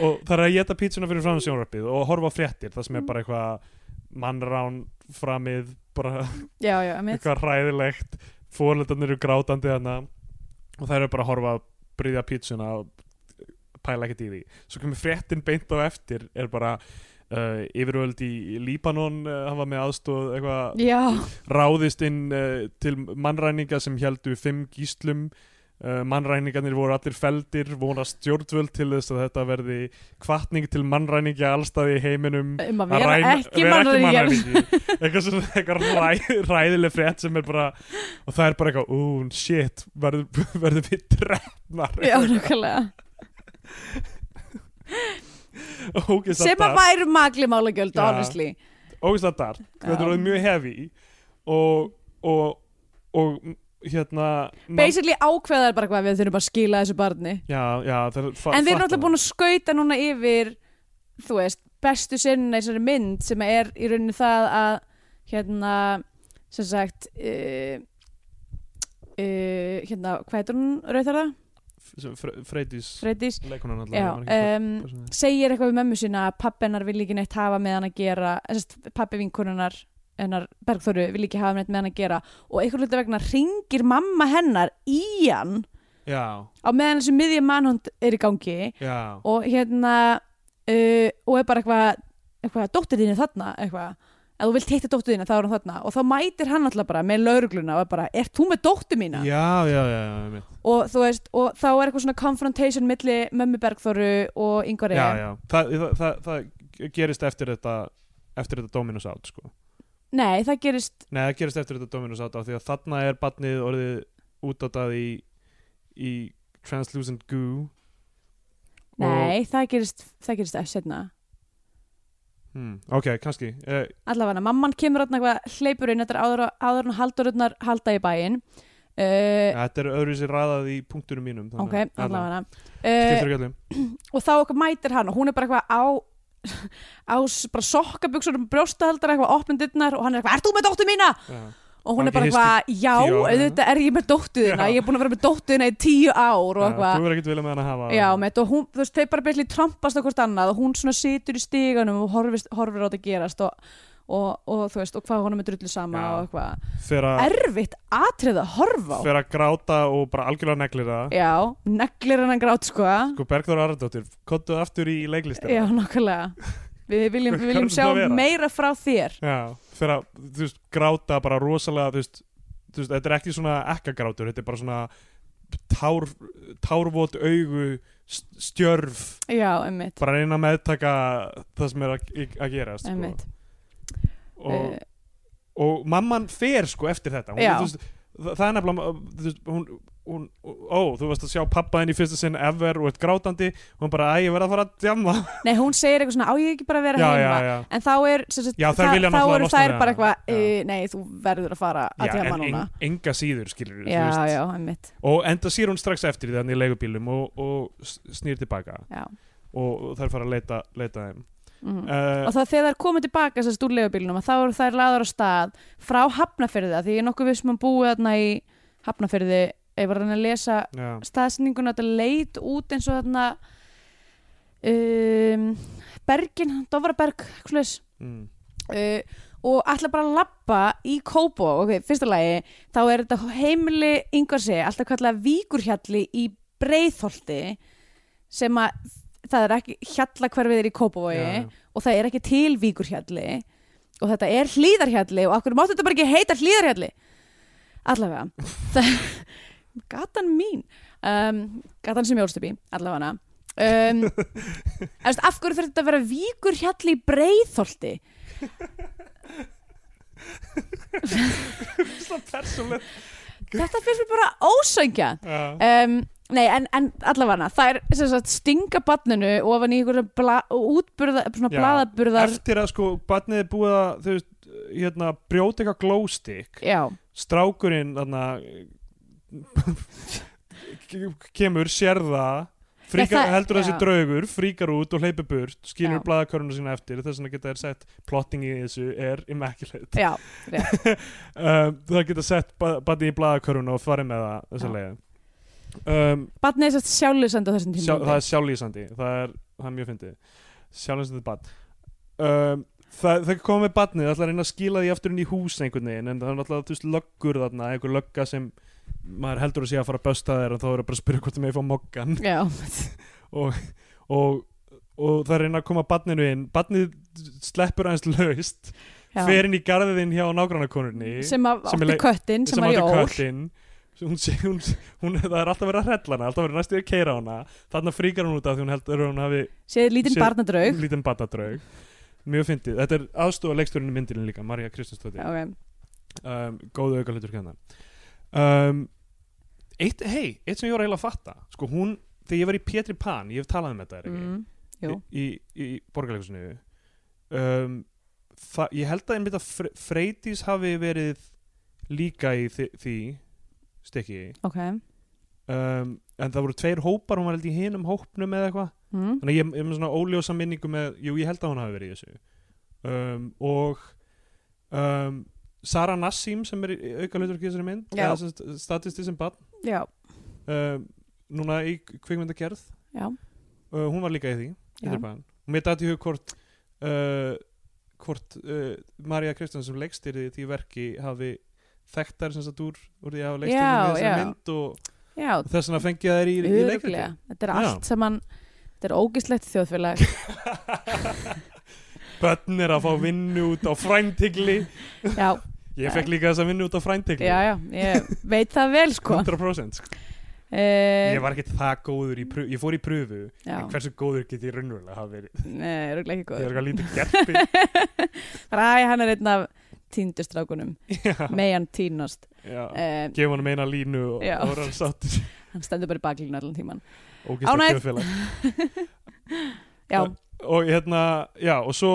og það er að geta pítsuna fyrir fram sjónvarpið og horfa á fréttir það sem er bara eitthvað mannrán framið, bara
já, já, einmitt
eitthvað hræðilegt fóröldarnir eru grátandi þarna og þær eru bara að horfa að bryðja pítsuna og pæla ekkert í því svo kemur fréttin beint á eftir er bara uh, yfirvöld í Líbanon uh, hafa með aðstóð eitthvað
já,
ráðist inn uh, til mannræninga sem heldu fimm gíslum uh, mannræningarnir voru allir feldir vona stjórnvöld til þess að þetta verði kvartning til mannræninga allstaði í heiminum
um að
að
vera
ræna-
ekki
vera
mannræningjar
mannræningjar. eitthvað svona eitthvað ræ, ræðileg frétt sem er bara og það er bara eitthvað, ú, shit verður, verður við drefnar
[LAUGHS]
[LAUGHS]
já, nákvæmlega sem að
ógislega
væru magli málagjöld
Já.
honestly
dart þetta er
Já.
orðið mjög heavy og, og, og hérna mann-
basically ákveðar bara hvað við þurfum að skila þessu barni
Já, já, það er
en við erum alltaf búin að skauta núna yfir þú veist, bestu sinna í þessari mynd sem er í rauninni það að hérna sem sagt uh, uh, hérna, hvað heitir hún rauðar það?
að Freydís,
Freydís?
leikunan
Já, um, segir eitthvað við mömmu sína að pappennar vil ekki neitt hafa með hann að gera sest, pappi vinkonunnar hennar Bergþóru vil ekki hafa neitt með hann að gera og einhver hluta vegna ringir mamma hennar í hann
Já,
á meðan þessu miðja mannhund er í gangi
já
og hérna uh, og er bara eitthvað eitthvað, dóttir þín er þarna eitthvað ef þú vilt hitta dóttir þína þá er hann þarna og þá mætir hann alltaf bara með laurugluna og er bara, ert þú með dóttir mína?
Já, já, já, já, einmitt.
og þú veist, og þá er eitthvað svona confrontation milli mömmu Bergþóru og yngvar
já, já. Þa, það, það, það gerist eftir þetta eftir þetta Dominus Out sko.
nei, það gerist
Nei, það gerist eftir þetta Dominus Out af því að þarna er barnið orðið útátað í, í Translucent Goo
Nei, það gerist, það gerist eftir setna.
hmm, Ok, kannski uh,
Allavega, mamman kemur átna eitthvað hleypur inn, þetta er áður, áður en haldururnar halda í bæinn. Uh,
Þetta er öðru sér raðað í punkturum mínum
ok, allavega.
Skiptur
Uh,
ekki allir
og þá eitthvað mætir hann og hún er bara eitthvað á, [LAUGHS] á s- bara sokkabuksunum brjóstahaldar eitthvað opnindinnar og hann er eitthvað, ert þú með dóttu mína?
Já
Og hún
Hann
er bara
ekki
eitthvað, já,
tíu ár,
auðvitað er ég með dóttu þína,
Já.
ég er búin að vera með dóttu þína í tíu ár og
Já,
eitthvað.
Þú verður ekkert vilja með hann að hafa
Já, með þetta og hún, þú veist, þau bara byrjum trampast á hvort annað og hún svona situr í stíganum og horfist, horfir á þetta gerast og, og, og þú veist, og hvað honum er drullu sama
Já.
og eitthvað,
fer að-
erfitt atrið að horfa á,
fer að gráta og bara algjörlega neglir það
já, neglir hennan grát sko,
sko Bergþóra Arndóttir, kottu aftur í leiklistina
já, nokkulega við viljum,
Hvað
við
er
viljum
þetta
sjá
að vera?
meira frá þér
Já, fyrir að, þú veist, gráta bara rosalega, þú veist, þú veist þetta er ekki svona ekkagrátur, þetta er bara svona tár, tárvot augu st- stjörf,
já, emmitt,
bara að reyna að meðtaka það sem er að, að gerast sko.
emmitt Eh,
og, og mamman fer sko eftir þetta hún,
Já.
þú veist, það, það er nefnilega þú veist, hún, hún, ó, þú veist að sjá pappa henni í fyrsta sinn ever og eitt grátandi hún bara, æ, ég verð að fara að djamma
nei, hún segir eitthvað svona, á ég ekki bara að vera
já,
heima
já, já,
en þá er sem sagt,
Já, þær
þa-
vilja
þá
náttúrulega
eru
losna
þær
við
bara
hana.
eitthvað,
Já.
"Eh, nei, þú verður að fara að
já
djama
en
núna
en, enga síður skilur
já, já, einmitt
og enda sér hún strax eftir þannig í leigubílum og, og s- snýr tilbaka
já.
og, og þær fara að leita, leita þeim
Mm.
uh,
og það þegar þær komið tilbaka sérst úr leigubílnum að þá eru þær laðar á stað frá Hafnafyrði af því ég er nokkuð vissum að búið þarna í Hafnafyrði ef var hann að lesa
já,
staðsendinguna þetta leit út eins og þarna um, Bergin, Dovraberg uh,
mm,
og ætla bara að labba í Kóbo ok, fyrsta lagi, þá er þetta heimili yngvarsi, alltaf kallað Víkurhjalli í Breiðholti sem að það er ekki hjallakverfið er í Kópavogi
já, já.
og það er ekki til víkurhjalli og þetta er hlýðarhjalli og okkur máttu þetta bara ekki heita hlýðarhjalli
[LAUGHS]
allavega Það- gatan mín um, gatan sem ég ólst upp í,
[LAUGHS]
allavega hana um, en veist, af hverju fyrir þetta að vera víkurhjalli í breiðholti
Svo persónulegt.
þetta finnst mér bara ósöngja
Já.
um, Nei, en, en allavega það er sem sagt, stinga barninu ofan í einhverja bla, útburða, svona
Já,
blaðaburðar
eftir að sko barnið er búið að þú veist, hérna, brjóta eitthvað glowstick
Já,
strákurinn þarna [LAUGHS] ke- kemur, sér það fríkar,
Já, það-
heldur þessi
já.
draugur, fríkar út og hleypir burt, skilur
Já.
blaðakörnuna sína eftir þess vegna geta þær sett plotting í þessu er immaculate
já,
um, það geta sett ba- barnið í blaðakörfuna og farið með það þessa
Já.
leið um,
barnið er sérst sjálflösend á þessum tíma
sjá, það er sjálflýsandi það er, það er mjög fyndið sjálflýsandi barn um, það, það kom með barnið, það ætla að reyna að skila því aftur inn í hús einhvern veginn, en það er náttúrulega þú veist löggur þarna, einhver lögga sem maður heldur að sé að fara að bösta þér en þá eru bara að spyrja hvort það með fá mokkan
Já,
og, og það er reyna að koma barninu inn barnið sleppur aðeins laust
já.
fer inn í garðin hjá nágrannakonunni
sem að
sem er
átti
leik-
köttin sem, var í
átti
ól
köttinn. Svo hún, sé- hún, hún, það er alltaf verið að hrella hana alltaf verið næstu að keira hana þarna fríkar hún út af því hún heldur að hún hafi
séð lítinn
Séð-
barnadraug
lítinn batadraug mjög fyndið, þetta er aðstofa leiksturinn í myndinni líka, Marja Kristinsdóttir
okay.
um, góðu auka hlutur kennan um, eitt, hei, eitt sem ég var eiginlega að fatta sko hún, þegar ég var í Pétri Pan ég hef talað um þetta, er ekki
mm, jú.
í, í, í borgarleikusinu um, það, ég held að einmitt að Fre- Freydís hafi verið líka í því, því stikki
ok
um, en það voru tveir hópar, hún var held í hinum hópnum eða eitthvað
mm.
þannig að ég ég er með svona óljósa minningu með jú, ég held að hún hafi verið í þessu um, og um, Sara Nassim sem er auka hlutur í þessari mynd
Já.
statisti sem bann
já,
um, núna í kvikmyndagerð
já,
uh, hún var líka í því í
já.
þeirri bann. og mér dæti hug hvort uh, hvort uh, Marja Kristján sem leikstýrði því verki hafi þekktar sem sagt úr úr því að hafa leikstýrði
Já,
með þessari
já.
mynd og
já
þess vegna fengið þær í, í leikriti
örglega, þetta er allt sem hann þetta er ógislegt þjóðfélag
Bönn er að fá vinnu út á fræntigli
já,
Ég fekk líka þessa vinnu út á fræntigli
já, já, ég veit það vel sko
100% sko.
eh,
Ég var ekkert það góður í pröfu Ég fór í pröfu
já,
En hversu góður get ég raunverulega hafa verið
nei, örglega ekki
Ég er
góð
eitthvað lítið [LAUGHS]
[LAUGHS]
gerpi
ræ, hann er einn af tíndustrákunum
Já,
meðan tínast
já
eh,
Gefum hann meina línu og
Já.
ára sáttir
[LAUGHS] hann stendur bara í baklínu allan tíman
Ógislega
Ánægð.
kjöfélag
já,
og hérna, já, og svo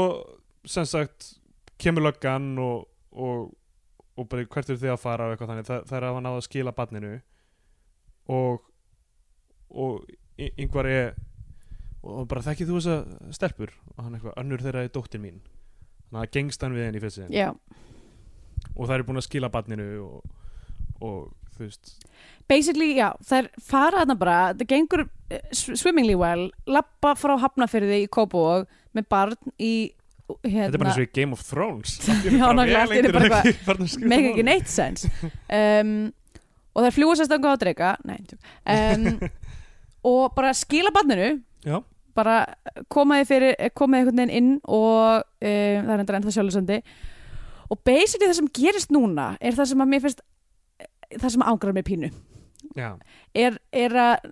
sem sagt, kemur löggan og, og, og bara hvert eru þið að fara og eitthvað þannig, Þa, það er að hann náða að skila barninu og og y- yngvar er og bara þekkið þú þessa stelpur og hann eitthvað, önnur þeirra er dóttir mín þannig að gengst hann við henni í fyrst sinn
já
og það eru búin að skila barninu og, og þú veist
basically, já, þær fara þarna bara það gengur eh, sw- swimmingly well lappa frá hafnafyrði í Kópavog með barn í
Þetta
hérna,
er bara eins og í Game of Thrones
[LAUGHS] Já, nákvæmlega, allt í einu bara eitthvað-
eitthvað
make ekki neitt sens um, og það er fljúasestanga á dreika nei,
[LAUGHS]
tjók. um, og bara skila barninu
Já.
bara koma þið fyrir koma þið einhvern veginn inn og um, það er endur ennþá sjálfsöndi og basically það sem gerist núna er það sem að mér finnst e, það sem ágrar mér pínu
Já,
er, er að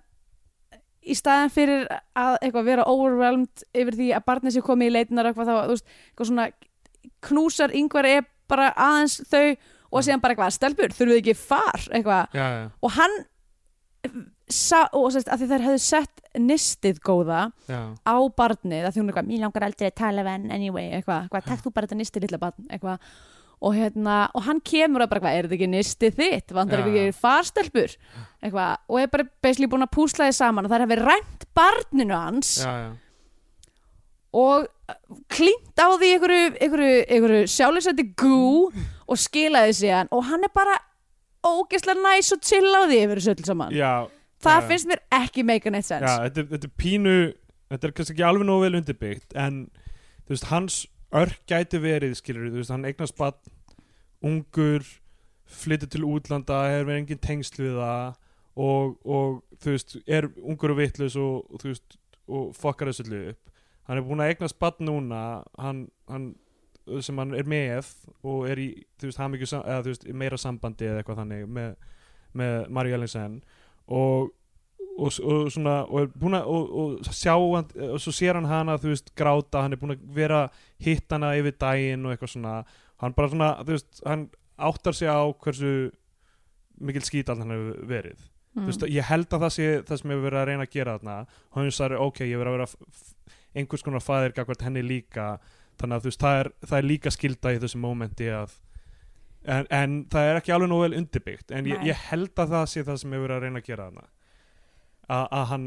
í staðan fyrir að eitthvað vera overwhelmed yfir því að barnið sér komið í leitinar eitthvað þá, þú veist, eitthvað svona knúsar yngvar er bara aðeins þau og
Mm.
síðan bara eitthvað, stelpur, þurfum við ekki far eitthvað,
já, já,
og hann sa, og sérst, að því þær hefðu sett nistið góða
já.
á barnið, að því hún er eitthvað, mér langar aldrei að tala við hann anyway, eitthvað, eitthvað, takk þú bara þetta nistið lilla barn, eitthvað, og hérna og hann kemur að bara, eitthvað, er þetta ekki nistið þitt vandar
Já.
ekki ekki farstelpur eitthvað, og er bara basically búin að púsla þið saman og það er hefði rænt barninu hans
já, já.
og uh, klínt á því einhverju, einhverju, einhverju sjálfsætti gú og skilaði síðan og hann er bara ógeðslega næs og chill á því yfir þessu öll saman
já
það
já.
finnst mér ekki make a net sense
Já, þetta, er- þetta er pínu Þetta er kannski ekki alveg nógu vel undirbyggt En þú veist, hans örk gæti verið skilur, þú veist, hann eignast bann ungur flyttur til útlanda, hefur verið engin tengsl við það og, og þú veist, er ungur og vitlaus og, og þú veist, og fokkar þessu öllu upp hann er búin að eignast bann núna hann, hann, sem hann er með og er í, þú veist, hamingju sam- eða þú veist, í meira sambandi eða eitthvað þannig með, með Maríu Ellinsen og og, og svona og er búin að og, og sjá hann og svo sér hann hana þú veist gráta hann er búin að vera hitt hana yfir daginn og eitthvað svona hann bara svona þú veist hann áttar sig á hversu mikil skít allt hann hefur verið
Mm.
þú veist ég held að það sé það sem hefur verið að reyna að gera þarna og hann sagði ok ég verið að vera f- f- einhvers konar fæðir gagvart henni líka þannig að þú veist það er, það er líka skilda í þessu mómenti að en, en það er ekki alveg nóg vel undirbyggt en ég,
Nei.
ég held að það sé það sem hefur verið að reyna að gera þarna A, að hann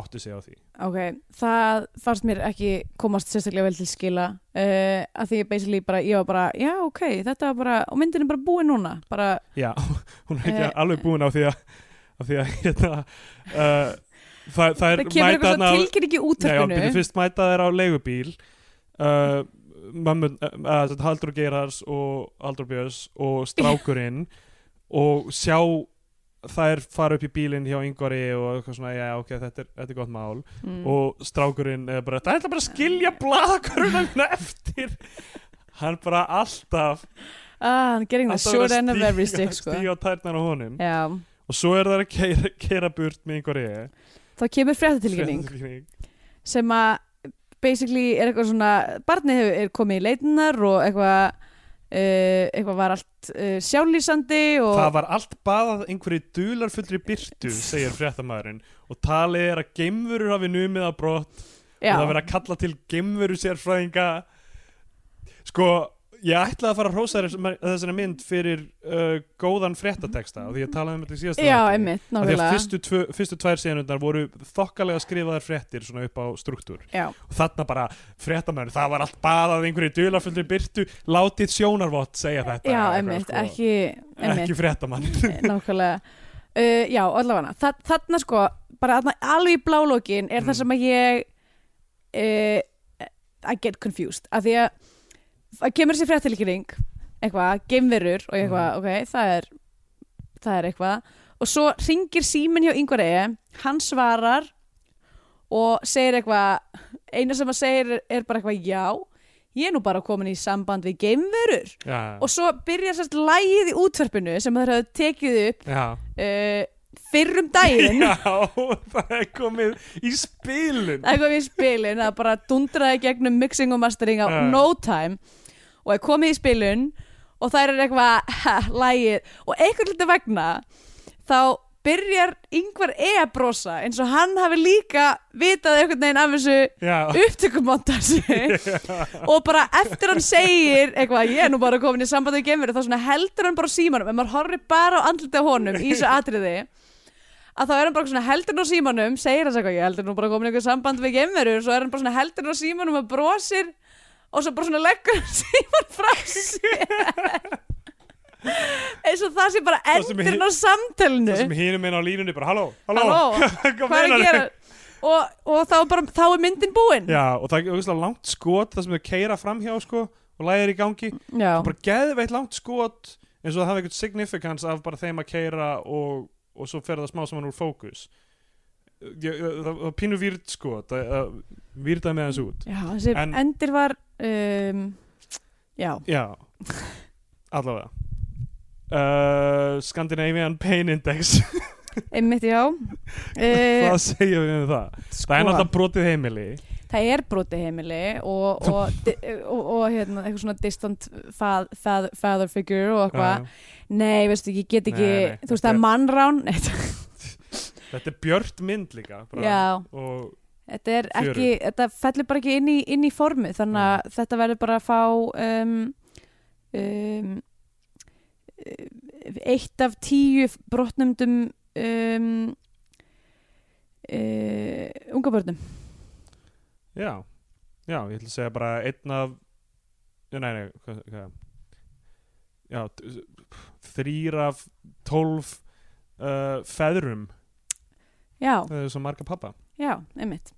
átti sig á því
Ok, það fannst mér ekki komast sérstaklega vel til skila uh, að því ég basically bara, ég var bara já ok, þetta var bara, og myndin er bara búin núna bara,
já, [LAUGHS] hún er ekki
Eh.
alveg búin á því að á því að hérna
[LAUGHS]
uh, það, það er
það kemur
þarna
eitthvað svona
á-
tilkynning í
Nei, já,
útverfinu
byrju, fyrst mæta þær á leigubíl uh, mömmu, uh, Haldur Geirars og Haldur Björns og
[LAUGHS]
strákurinn og sjá þær fara upp í bílinn hjá yngvari og eitthvað svona, já, ok, þetta er, þetta er gott mál
mm. Ah.
og strákurinn er bara, það ætla bara að skilja blaðaköruna mína eftir [LAUGHS] hann bara alltaf
ah, hann gerir eitthvað
alltaf
sure
verið að
end of
stíga-
every stick sko.
stíga á tærnar á honum
já,
og svo er það að keira, keira burt með yngvari
þá kemur fréttatilkynning sem að basically er eitthvað svona barnið hefur er komið í leitinar og eitthvað uh, eitthvað var allt uh, sjálflýsandi og
Það var allt baðað einhverju dularfullri byrtu, segir fréttamaðurinn og talið er að geimverur hafi numið að brott
já,
og það verið að kalla til geimveru sérfræðinga Sko, ég ætlaði að fara að rósa þessari mynd fyrir uh, góðan fréttateksta og því ég talaði um þetta í síðasta
já,
þætti.
einmitt,
Af Því að
nákvæmlega
fyrstu, tvö, fyrstu tvær senundar voru þokkalega skrifaðar fréttir svona upp á struktúr
já,
og þarna bara fréttamæður, það var allt baðað einhverju dularfullri byrtu, látið sjónarvott segja þetta
já,
eitthvað,
einmitt,
sko.
ekki einmitt.
ekki fréttamann
[LAUGHS] nákvæmlega uh, já, allavega Þa, þarna sko, bara þarna alveg í blálókin er
Mm.
það sem að ég uh, I get confused af því að það kemur sér fréttilíkning eitthvað, geimverur og ég eitthvað, ok, það er það er eitthvað og svo ringir síminn hjá yngvar eigi hann svarar og segir eitthvað eina sem að segir er bara eitthvað já ég er nú bara komin í samband við geimverur
Já,
og svo byrjar sérst lægið í útverfinu sem þeir hafðu tekið upp
já.
uh, fyrr um daginn
já [LAUGHS] það er komið í spilun
eitthvað við spilin það bara dundraði gegnum mixing og mastering á
Já.
no time og er komið í spilun og það er eitthvað ha, lægið og einhvern lítið vegna þá byrjar yngvar e að brosa eins og hann hafi líka vitað einhvern veginn af þessu [LAUGHS]
Já,
upptökumontasi og bara eftir hann segir eitthvað, ég er nú bara komin í sambandi við gemur þá svona heldur hann bara á símanum en maður horfir bara á andlitið á honum í þessu atriði að þá er hann bara svona heldur hann á símanum segir hann eitthvað, ég heldur nú bara komin í eitthvað sambandi við gemurur, svo er hann bara svona heldur hann á símanum og brosir og svo bara svona leggur hann [LAUGHS] síman frá sér eins og það sé bara
Það sem
endurinn
hi-
á samtölinu
það sem hínum minn á línunni bara, halló, halló,
Halló,
[LAUGHS] hvað
hvað er að
meinarðu?
gera og, og þá, er bara, þá er myndin búin
Já, og það er auðvitað langt skot það sem þau keira framhjá sko og læðir í gangi
Já.
bara geðveitt langt skot eins og það hafi eitthvað significance af bara þeim að keira og, og svo fer það smá saman úr fókus Ég- ég- það það pínu výrt skot það- það výrtaði með hans út
Já, þessi
En-
endir var um, já,
Já, allavega uh, Scandinavian Pain Index [LAUGHS]
einmitt já uh,
hvað segjum við um það? Það er náttúrulega brotið heimili
það er broti heimili og, og, di- [LAUGHS] og, og hérna, eitthvað svona distant fa- fa- father figure og eitthvað
Uh,
nei, veistu, ég get ekki
Nei, nei,
þú
þetta
veist, það
er-
er mannrán [LAUGHS] Nei, þetta-
Þetta er björt mynd líka bara.
já,
og
þetta er
Fjörur.
ekki þetta fellur bara ekki inn í, inn í formu þannig að þetta verður bara að fá um, um, eitt af tíu brotnumdum um, uh, unga börnum
já, já, ég ætla að segja bara einn af já, nei, nei, hvað, hvað já, t- þrýr af tólf uh, feðrum
já,
það er svo marga pappa
já, einmitt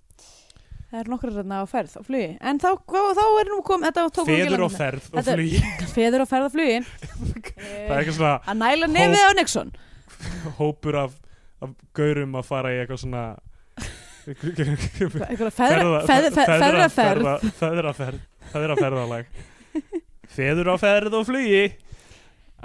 það er nokkrar þarna á ferð á flugi en þá, þá, þá er nú kom þetta tók nú ekki
feður
langan
og ferð og
Þetta-
flý
tíma. feður á ferð á flugi
[LAUGHS] það er
Eh,
eitthvað svona
að næla nefið á Nixon
hópur af, af gaurum að fara í eitthvað svona
eitthvað feðra, feðra, feðra, ferð
feðraferð feðraferð feðraferðalag feður á ferð og flugi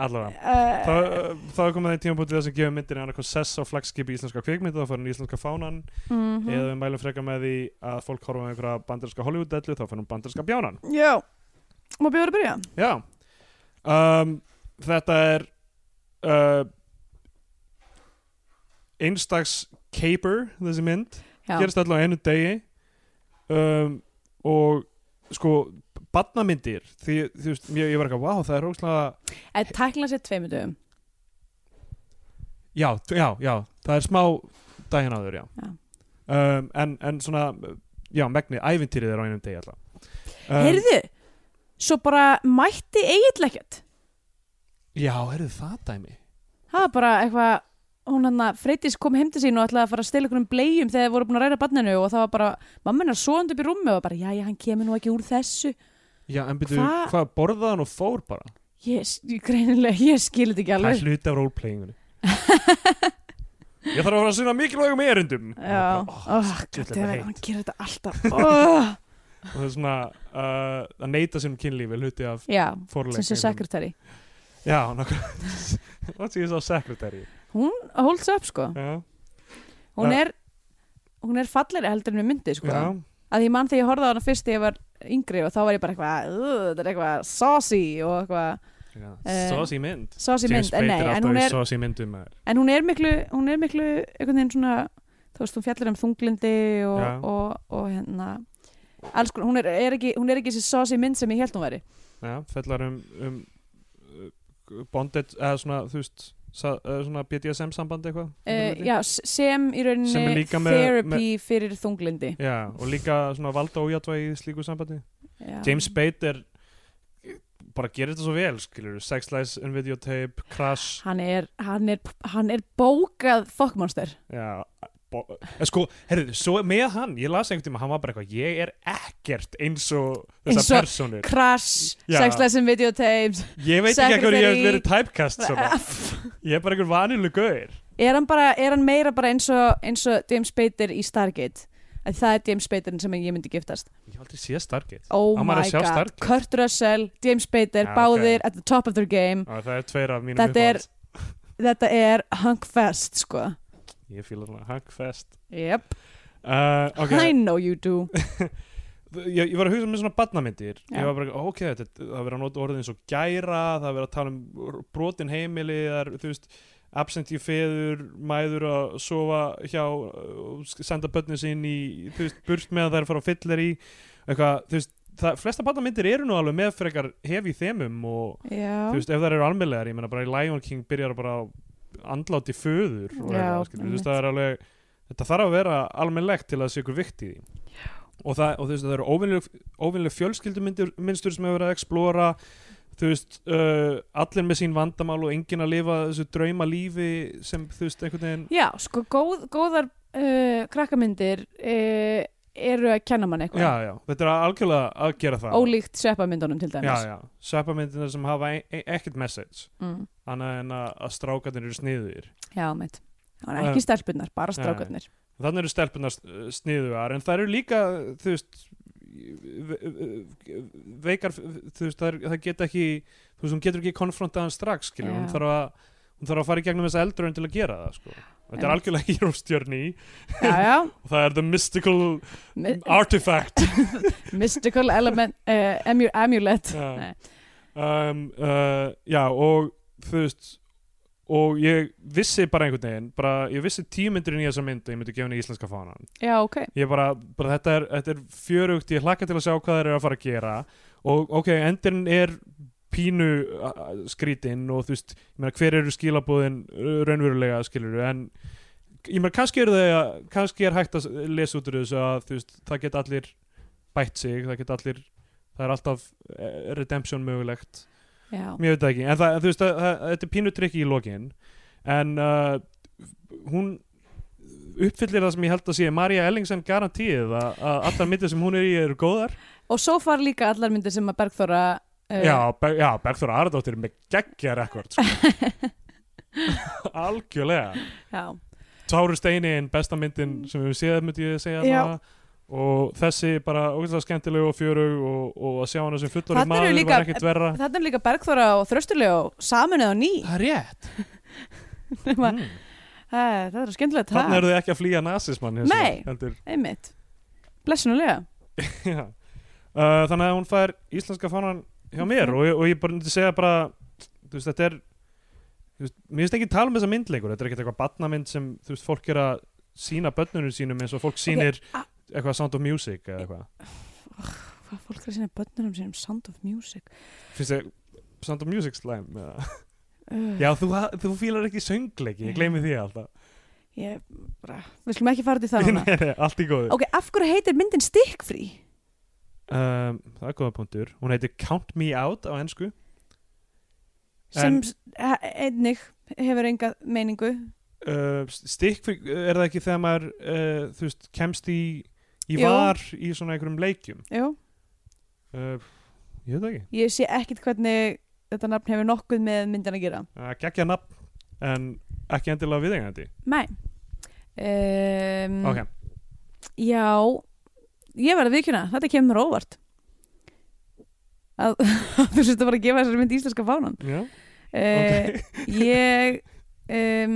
allavega Þá, uh, þá er komið það í tímabútið þess að gefa myndinni annað hvað sess á flagskipi íslenska kvikmyndu þá fyrir íslenska fánan
Mhm.
eða við mælum freka með því að fólk horfa með einhverja banderska Hollywood-dellu þá fyrir banderska bjánan
Já, má bjóður að byrja?
Já um, Þetta er uh, einstags caper þessi mynd
Já,
gerist alltaf á einu degi um, og sko badnamyndir því þú veist, ég, ég var eitthvað, wow, það er óslega
en tækla sér Eh, tveimur dögum
Já, t- já, já, það er smá daginn áður, já,
Já.
Um, en, en svona, já, megnið ævintýrið er á einum degi alltaf um,
Heyrðu, svo bara mætti eiginlega ekkert
Já, heyrðu það dæmi
Það var bara eitthvað hún hann að Freytis kom heim til sín og ætlaði að fara að stela einhvern blegjum þegar þeir voru búin að ræra barninu og það var bara, mamma hennar svoðandi upp í rúmi og bara, já, já, hann kemur nú ekki úr þessu
Já, en byrju,
Hva-
hvað borðaði hann og fór bara?
Ég, s- ég greinilega, ég skil þetta ekki
Það er
alveg
hluti af roleplayingunni Ég þarf að fara að sinna mikilvægum erindum
Já,
Og bara,
oh,
djöfull er
gæti,
það heitt.
hann gerir þetta alltaf oh.
oh, Og það er svona uh, að neita sínum kynlífi er hluti af
Já,
fórleik
sem sem sekretari
Já, nákvæmlega [LAUGHS] Hvað sé ég sá sekretari?
Hún holds up, sko
Já,
Hún
Já.
er, hún er falleri heldur en við myndi, sko
já,
að ég mann þegar ég horfði á hana fyrst þegar ég var yngri og þá var ég bara eitthvað "Ugh, þetta er eitthvað saucy og eitthvað
já.
Eh,
Svo sí mynd
saucy mynd, en nei, en hún er,
Svo sí myndum maður
en hún er miklu hún er miklu einhvern veginn svona þú veist, hún fjallar um þunglindi og,
Já.
og, og, hérna alls konar, hún er, er ekki, hún er ekki þessi saucy mynd sem ég held hún væri
Já, fellar um, um uh, bondage, eða svona, þú veist, sa, uh, svona BDSM sambandi eitthvað?
uh,
Einhverju leyti?
já, s- sem í rauninni
Sem er líka með-
therapy fyrir þunglindi
Já, og líka svona valda ójátvægi í slíku sambandi.
já.
James Spade er, bara gerir þetta svo vel, skilur, Sex Lies, and Videotape, Crash,
hann er, hann er, hann er bókað fokkmonster
já. bo- En sko, herriðu, svo með hann, ég las einhvern tíma, hann var bara eitthvað, ég er ekkert eins og
Eins og
þessar personur.
crash,
Já.
sexlessin videotapes
Ég veit ekki eitthvað, ég hef verið
Secretary-
typecast svona. Ég er bara einhver vanilu gaur.
er hann, bara, er hann meira bara eins og, eins og James Spader í Stargate að það er James Spader sem ég myndi giftast
Ég hef aldrei séð Stargate.
oh
Á maður
my
að sjá
god,
Stargate?
Kurt Russell James Spader,
Já,
báðir
ok.
at the top of their game
Á, það er tveir af mínum
Þetta er-
uppáhalds.
þetta er hunkfest sko
Ég fíla svona hagfest
yep.
uh,
I
okay.
know you do
[LAUGHS] ég, ég var að hugsa með svona badnamyndir
Já.
Ég var bara, ok, þetta, það verið að nota orðin eins og gæra Það verið að tala um brotin heimili Það er, þú veist, absentí feður Mæður að sofa hjá uh, Senda börnin sín í, þú veist, burt með að það er að fara á fyllir í Eitthvað, þú veist Það, flesta badnamyndir eru nú alveg með frekar hefi þemum og
já,
þú veist, ef það eru almennlegar, ég meina bara í Lion King byrjar bara á andláti föður og
Já,
eitthvað, skilur, þú
einmitt.
veist, það er alveg þetta þarf að vera almennlegt til að það sé ykkur vikt í því og, það, og þú veist, það eru óvinnileg, óvinnileg fjölskyldumyndur minnstur sem hefur verið að explora þú veist, uh, allir með sín vandamál og enginn að lifa þessu drauma lífi sem þú veist, einhvern veginn
já sko góð, góðar uh, krakkamyndir uh, eru að kenna mann
já,
eitthvað
já, þetta er algjörlega að gera það
ólíkt sveppamyndunum til
já,
dæmis
já, sveppamyndirna sem hafa e e ekkert message
Mm,
annað en að, að strákarnir eru sniðir
já mitt Það var ekki stelpunnar, bara strákarnir
þannig eru stelpunar sniðugar en það eru líka þú veist ve- ve- veikar þú veist, það, er, það geta ekki þú veist, hún getur ekki konfrontað hann strax skilur, hún
Já.
þarf að hún þarf að fara í gegnum þessa eldur til að gera það sko. þetta er
Einmitt.
algjörlega [LAUGHS] ekki rústjörni
Já, já,
[LAUGHS] og það er the mystical
mi-
artifact
[LAUGHS] mystical element uh, emu- amulet
Já.
Nei.
um, uh, já og þú veist og ég vissi bara einhvern veginn bara, ég vissi tímyndirinn í þessa mynd og ég myndi gefa henni íslenska fánan
Já, ok
ég bara, bara þetta, er, þetta er fjörugt ég hlakka til að sjá hvað þeir eru að fara að gera og ok, endurinn er pínu uh, skrítinn og þú veist, ég meina hver eru skilabúðin raunverulega skilur en ég meina kannski eru þau að kannski er hægt að s- lesa út úr þessu að þú veist, það get allir bætt sig það get allir, það er alltaf eh, redemption mögulegt
Já,
Mér veit það ekki, en það, þú veist, það, það, þetta er pínu trikki í lokin En uh, hún uppfyllir það sem ég held að sé Marja Ellingsen garantíð að að allar myndir sem hún er í eru góðar
og svo far líka allar myndir sem að Bergþóra uh,
Já, Be já Bergþóra Aradóttir er með geggja rekord sko.
[LAUGHS]
Algjörlega
já.
Táru Steini en besta myndin sem við séð myndi ég segja
Já.
það og þessi bara ógæslega skemmtilegu og fjörug og, og að sjá hana sem fullorinn
Þarna eru
maður
líka-
var ekkert verra
Þetta er líka Bergþóra og Þröstulega og saminuð á ný
[LAUGHS] Það er rétt
Nema-
mm.
Æ, Það eh, er skemmtilegt
Þannig eru þið ekki að flýja nasismann hins
Nei.
vegar, heldur,
Einmitt Blessunulega
já. uh, Þannig að hún fær íslenska fánan hjá mér og, og ég bara myndi segja bara þú veist, þetta er þú veist, mér finnst ekki tala um þessa mynd lengur þetta er ekkert eitthvað batnamynd sem þú veist, fólk er að sína börnunum sínum eins og fólk sýnir
a-
eitthvað Sound of Music eða eitthvað
Hvað fólk er að sinna börnunum sínum Sound of Music
finnst þið Sound of Music slæm eða?
uh,
[LAUGHS] Já, þú, ha- þú fílar ekki söngleiki, ég gleymi því alltaf
Ég, bara, við skulum ekki fara til
[LAUGHS]
það
Nei,
núna
nei, Allt í góðu
Ok, af hverju heitir myndin Stikkfrí?
um, Það er góða punktur Hún heitir Count Me Out á ennsku
Sem en, einnig hefur enga meiningu
uh, stikk er það ekki þegar maður uh, þú veist, kemst í ég
Jú.
var í svona einhverjum leikjum
Jú,
uh, ég veit það ekki
ég sé ekkit hvernig þetta nafn hefur nokkuð með myndin að gera
uh, geggja nafn en ekki endilega viðengandi
Nei um,
ok,
Já, ég verði viðkjöna, þetta kemur mér á óvart að [LAUGHS] þú sérst að bara að gefa þessari mynd íslenska fánan
já,
okay.
ok
Eh, Ég um,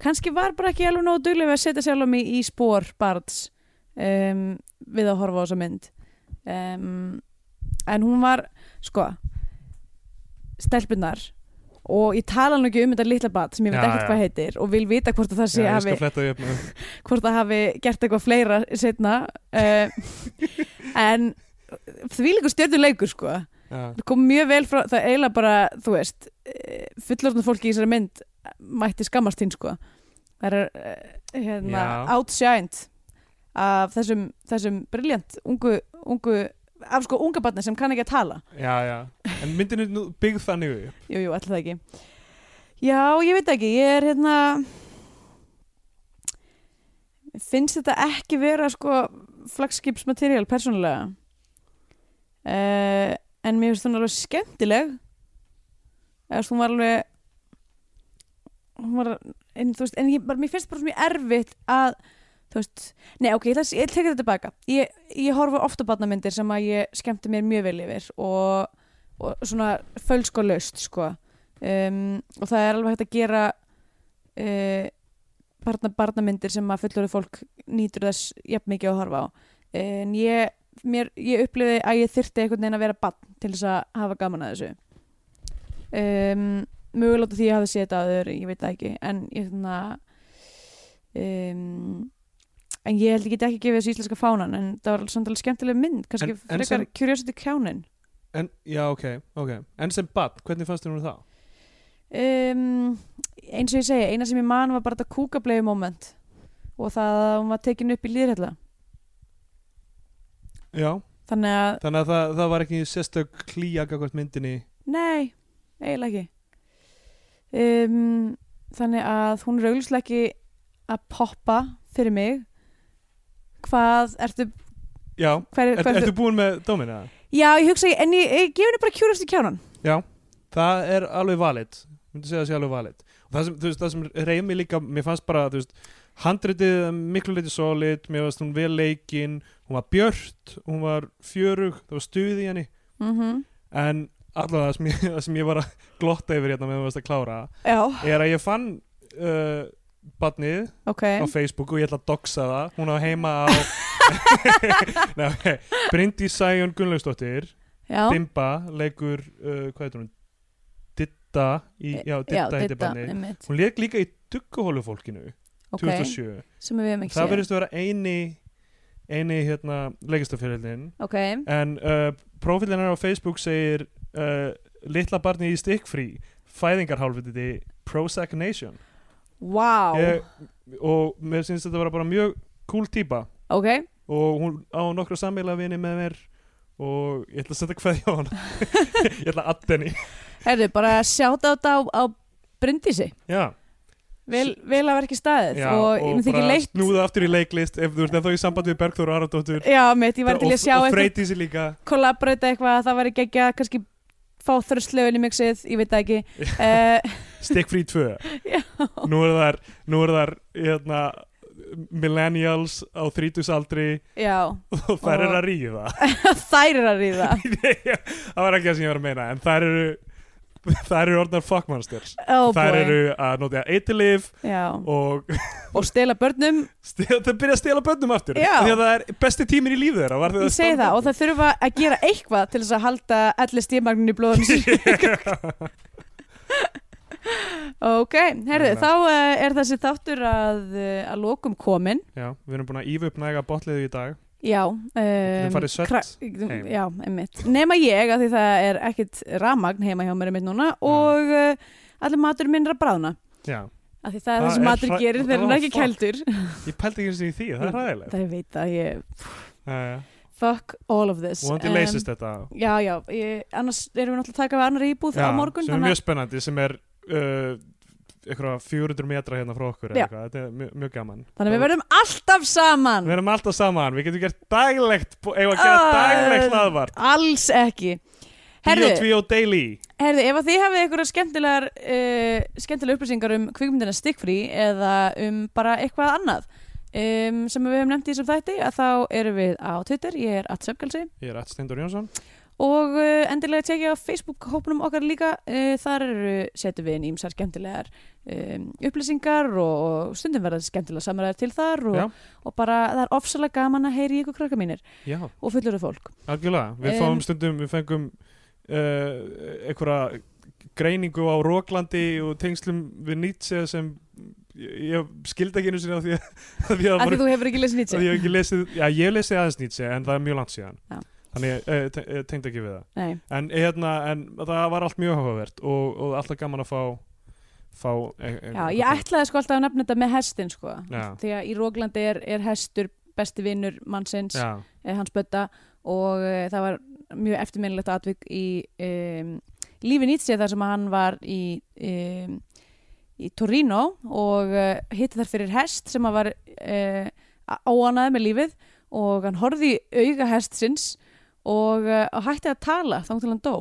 kannski var bara ekki alveg nógu duglega við að setja sjálf mig í spór barns um, við að horfa á þessa mynd um, en hún var sko stelpunnar og ég tala nú ekki um þetta litla bat sem ég veit
Já,
ekkert
já.
hvað heitir og vil vita hvort að það
já,
sé
ég
hafi
skal fletta því upp með
hvort það hafi gert eitthvað fleira setna
[LAUGHS]
uh, en því líka stjörnuleikur sko
Já,
það kom mjög vel frá, það eiginlega bara þú veist, e, fullorðna fólki í þessari mynd mætti skammast hinn sko það er eh, hérna,
Já.
outshined af þessum, þessum briljant ungu, ungu af sko unga barni sem kann ekki að tala
já, já en myndin er nú byggð þannig upp
Jú, jú, alltaf ekki Já, ég veit ekki, ég er hérna Mér finnst þetta ekki vera sko flagskipsmaterial persónulega uh, en mér finnst hún alveg skemmtileg eða þú var alveg hún var en, þú veist, en ég, bara, mér finnst bara mjög erfitt að þú veist, nei ok, ég, ætla að- ég tekur þetta tilbaka ég, ég horfa ofta barnamyndir sem að ég skemmti mér mjög vel yfir og og svona fölskolaust sko. um, og það er alveg hægt að gera uh, barna, barnamyndir sem að fullorðið fólk nýtur þess jafn mikið að horfa á en ég, mér, ég upplifði að ég þyrfti einhvern veginn að vera barn til þess að hafa gaman að þessu um, mögulega út af því að ég hafi séð þetta aður, ég veit það ekki en ég hérna, svona um, en ég held ég get ekki gefið þessu íslenska fánan en það var samt alveg skemmtileg mynd kannski
En- en
frekar
sem-
Curiosity Countain
en, já, ok, ok en sem bad, hvernig fannst þér hún það?
um, eins og ég segja, eina sem ég man var bara þetta kúkablegu moment og það að hún var tekin upp í líðræðla
já,
þannig að,
þannig að það, það var ekki sérstök klíja gagvart myndinni
nei, eiginlega ekki um, þannig að hún er augljóslega ekki að poppa fyrir mig hvað ertu
Já,
hver,
er,
hvað
ertu búin með dómin eða?
já ég hugsa en ég, ég gef henni bara kjúrasti kjánan
Já, það er alveg valid myndi segja að það sé alveg valid og það sem, þú veist, það sem reyði mig líka, mér fannst bara þú veist, handritið er miklu leiti solid mér fannst hún vel leikinn hún var björt, hún var fjörug það var stuð í henni
mm
en allavega það sem ég, það sem ég var að glotta yfir hérna meðan við varst að klára
já
er að ég fann uh, barnið
ok
á Facebook og ég ætla að doxa það hún á heima á [LAUGHS] Nei, okay. Bryndi Sæjón Gunnlaugsdóttir
[LAUGHS] já
Dimba leikur uh, hvað heitir hún Ditta í, já, Ditta heitir barnið
Eh, einmitt.
hún leik líka í Dugguhólu fólkinu
ok
2007
sem við hefum ekki
það
séð
verðist að vera eini eini hérna leikistafjörðin
ok
en uh, profilin hennar á Facebook segir uh, litla barni í stikkfrí fæðingarhálfviti Prozac Nation
wow
ég, og mér finnst þetta vera bara mjög cool típa
ok
og hún á nokkra sammeila vini með mér og ég ætla að setja hvað hjá
[LAUGHS]
hana ég ætla að add henni
herðu bara sjátt á þetta á Bryndísi
já,
vel, vel að verki staðið
já,
og, og þykir
bara
leitt
snúða aftur í leiklist ef þú ert ennþá í samband við Bergþór Aradóttur
já mitt ég var til að sjá
og
eitthvað
freyti sér líka
kollabröta eitthvað það væri geggjað kannski fá þröstlöfin í mixið ég veit það ekki uh,
stikkfrí 2
[LAUGHS] Já.
nú er þar, nú er þar hérna, millennials á þrítusaldri
já [LAUGHS]
og þær eru að ríða
þær eru að ríða
[LAUGHS] það var ekki það sem ég var að meina en þær eru þær eru orðnar fuckmonsters
oh
þær
boy.
eru að nota eitilif
já,
og [LAUGHS]
og stela börnum
stela, það byrja að stela bönnum aftur
Já.
því að það er besti tíminn í lífi þeirra var þegar
ég segi það og það þurfa að gera eitthvað til þess að halda allir stímagninu í blóðum sín ok, herðu,
Nákvæmlega.
þá eh, er þessi þáttur að, eh, að lokum komin
já, við erum búin að ífa upp næga botliðu í dag
já um,
getum farið södd heim.
já, einmitt nema ég, af því það er ekkit ramagn heima hjá mér einmitt
Mm.
núna og uh, allir matur minn er að bráðna
já,
af því það er
Það
það sem
er
matur
hræ-
gerir þegar hann er
Oh,
ekki
fuck.
kældur
ég pældi ekki eins og í því, það er ræðilegt
[LAUGHS] það er veit að ég
uh,
fuck all of this
vonandi
Em,
leysist þetta
Já, já, ég, annars erum við náttúrulega að taka við annar íbúð
Já,
á morgun
sem er mjög spennandi, sem er uh, eitthvað 400 metra hérna frá okkur eða
Já.
eitthvað, þetta er mjög, mjög gaman
þannig að við verðum alltaf saman
Við erum alltaf saman, við getum gert daglegt eigum að gera
Ah.
daglegt hlaðvart
Alls ekki
Herðu
Herðu,
Bíó Daily
herðu ef að þið hafið eitthvað skemmtilegar uh, skemmtilegar upplýsingar um kvikmyndina stikkfrí eða um bara eitthvað annað um, sem við hefum nefnt í sem þætti að þá erum við á Twitter, ég er atsöfgalsi
Ég er Ætt Steindur Jónsson
og uh, endilega tekja á Facebook-hópnum okkar líka uh, þar eru, setjum við inn ímsar skemmtilegar um, upplýsingar og, og stundum verða skemmtilega samræðar til þar
Já.
og, og bara það er ofsalega gaman að heyri ykkur krakka mínir
Já,
og fullurðu fólk
algjörlega, við
Em.
fáum stundum við fengum uh, einhverja greiningu á Róklandi og tengslum við Nietzsche sem ég ég skildi ekki einu sinni af því að, af því að,
af
var,
því þú hefur ekki lesið
að því
nýtt
ég hef ekki lesið, já ég hef lesið aðeins Nietzsche en það er mjög langt síðan
Já.
þannig eh, te- eh, tengd ekki við það
Nei,
en, hérna, en það var allt mjög áhugavert og, og alltaf gaman að fá, fá e e
já, ég ætlaði sko alltaf að nefna þetta með hestin sko
Já.
því að í Róglandi er, er hestur besti vinnur mannsins,
já,
eh, hans bötta og eh, það var mjög eftirminnilegt atvik í um, lífi Nietzsche þar sem að hann var í um, í Torino og uh, hitti þar fyrir hest sem að var uh, óanað með lífið og hann horfði í auga hestsins og, uh, og hætti að tala þá til hann dó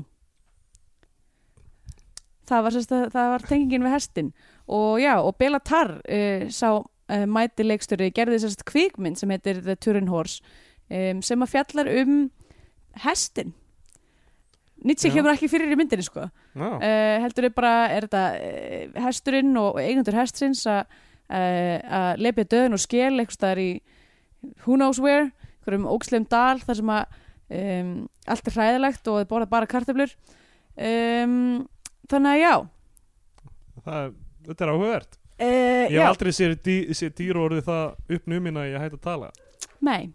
það var, sérst, það var tengingin við hestin og já, og Bela Tarr uh, sá uh, mæti leikstöri gerði sérst kvikmynd sem heitir The Turin Horse um, sem að fjallar um hestin Nietzsche
Já.
kemur ekki fyrir í myndinni sko
já.
uh, heldur þið bara, er þetta uh, hesturinn og og eigendur hestins að uh, lepja döðin og skel eitthvað staðar í who knows where, einhverjum ógslegum dal þar sem að um, allt er hræðilegt og þið borða bara kartöflur um, þannig að já
Það, er- þetta er áhugavert
Uh,
Ég hef aldrei séð dý- séð dýr orðið það uppnumina að ég hætti að tala
Nei,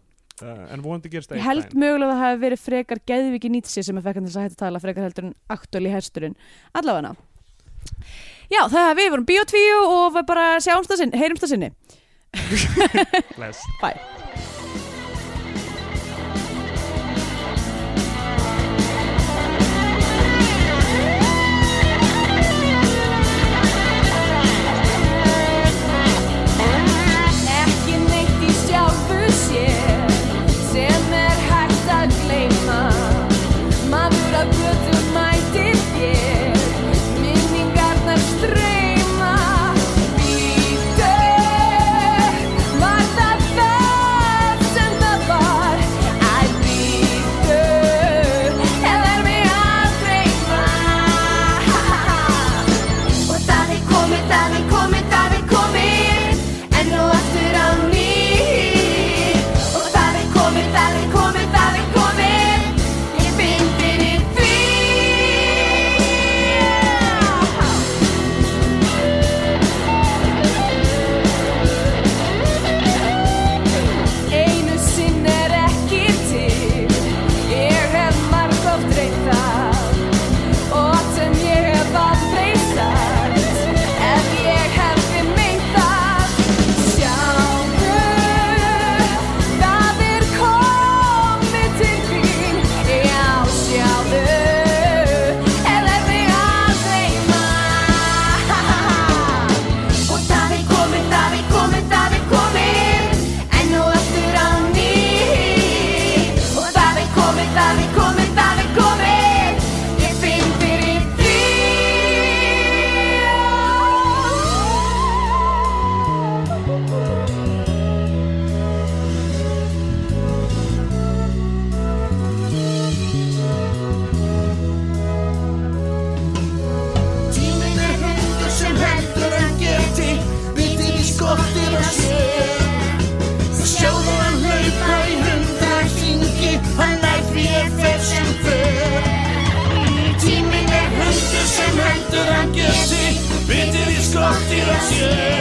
uh, en vonandi gerst það
ég
einn
held
daginn.
mögulega að það hafi verið frekar geðviki nýtsi sem er frekar þess að hætta að tala frekar heldur en aktuali hesturinn allavega Já, það við vorum Bíotvíu og við bara sjáumst það sinni, heyrumst það sinni
Bless.
Bye
Ekki neitt
síðan sér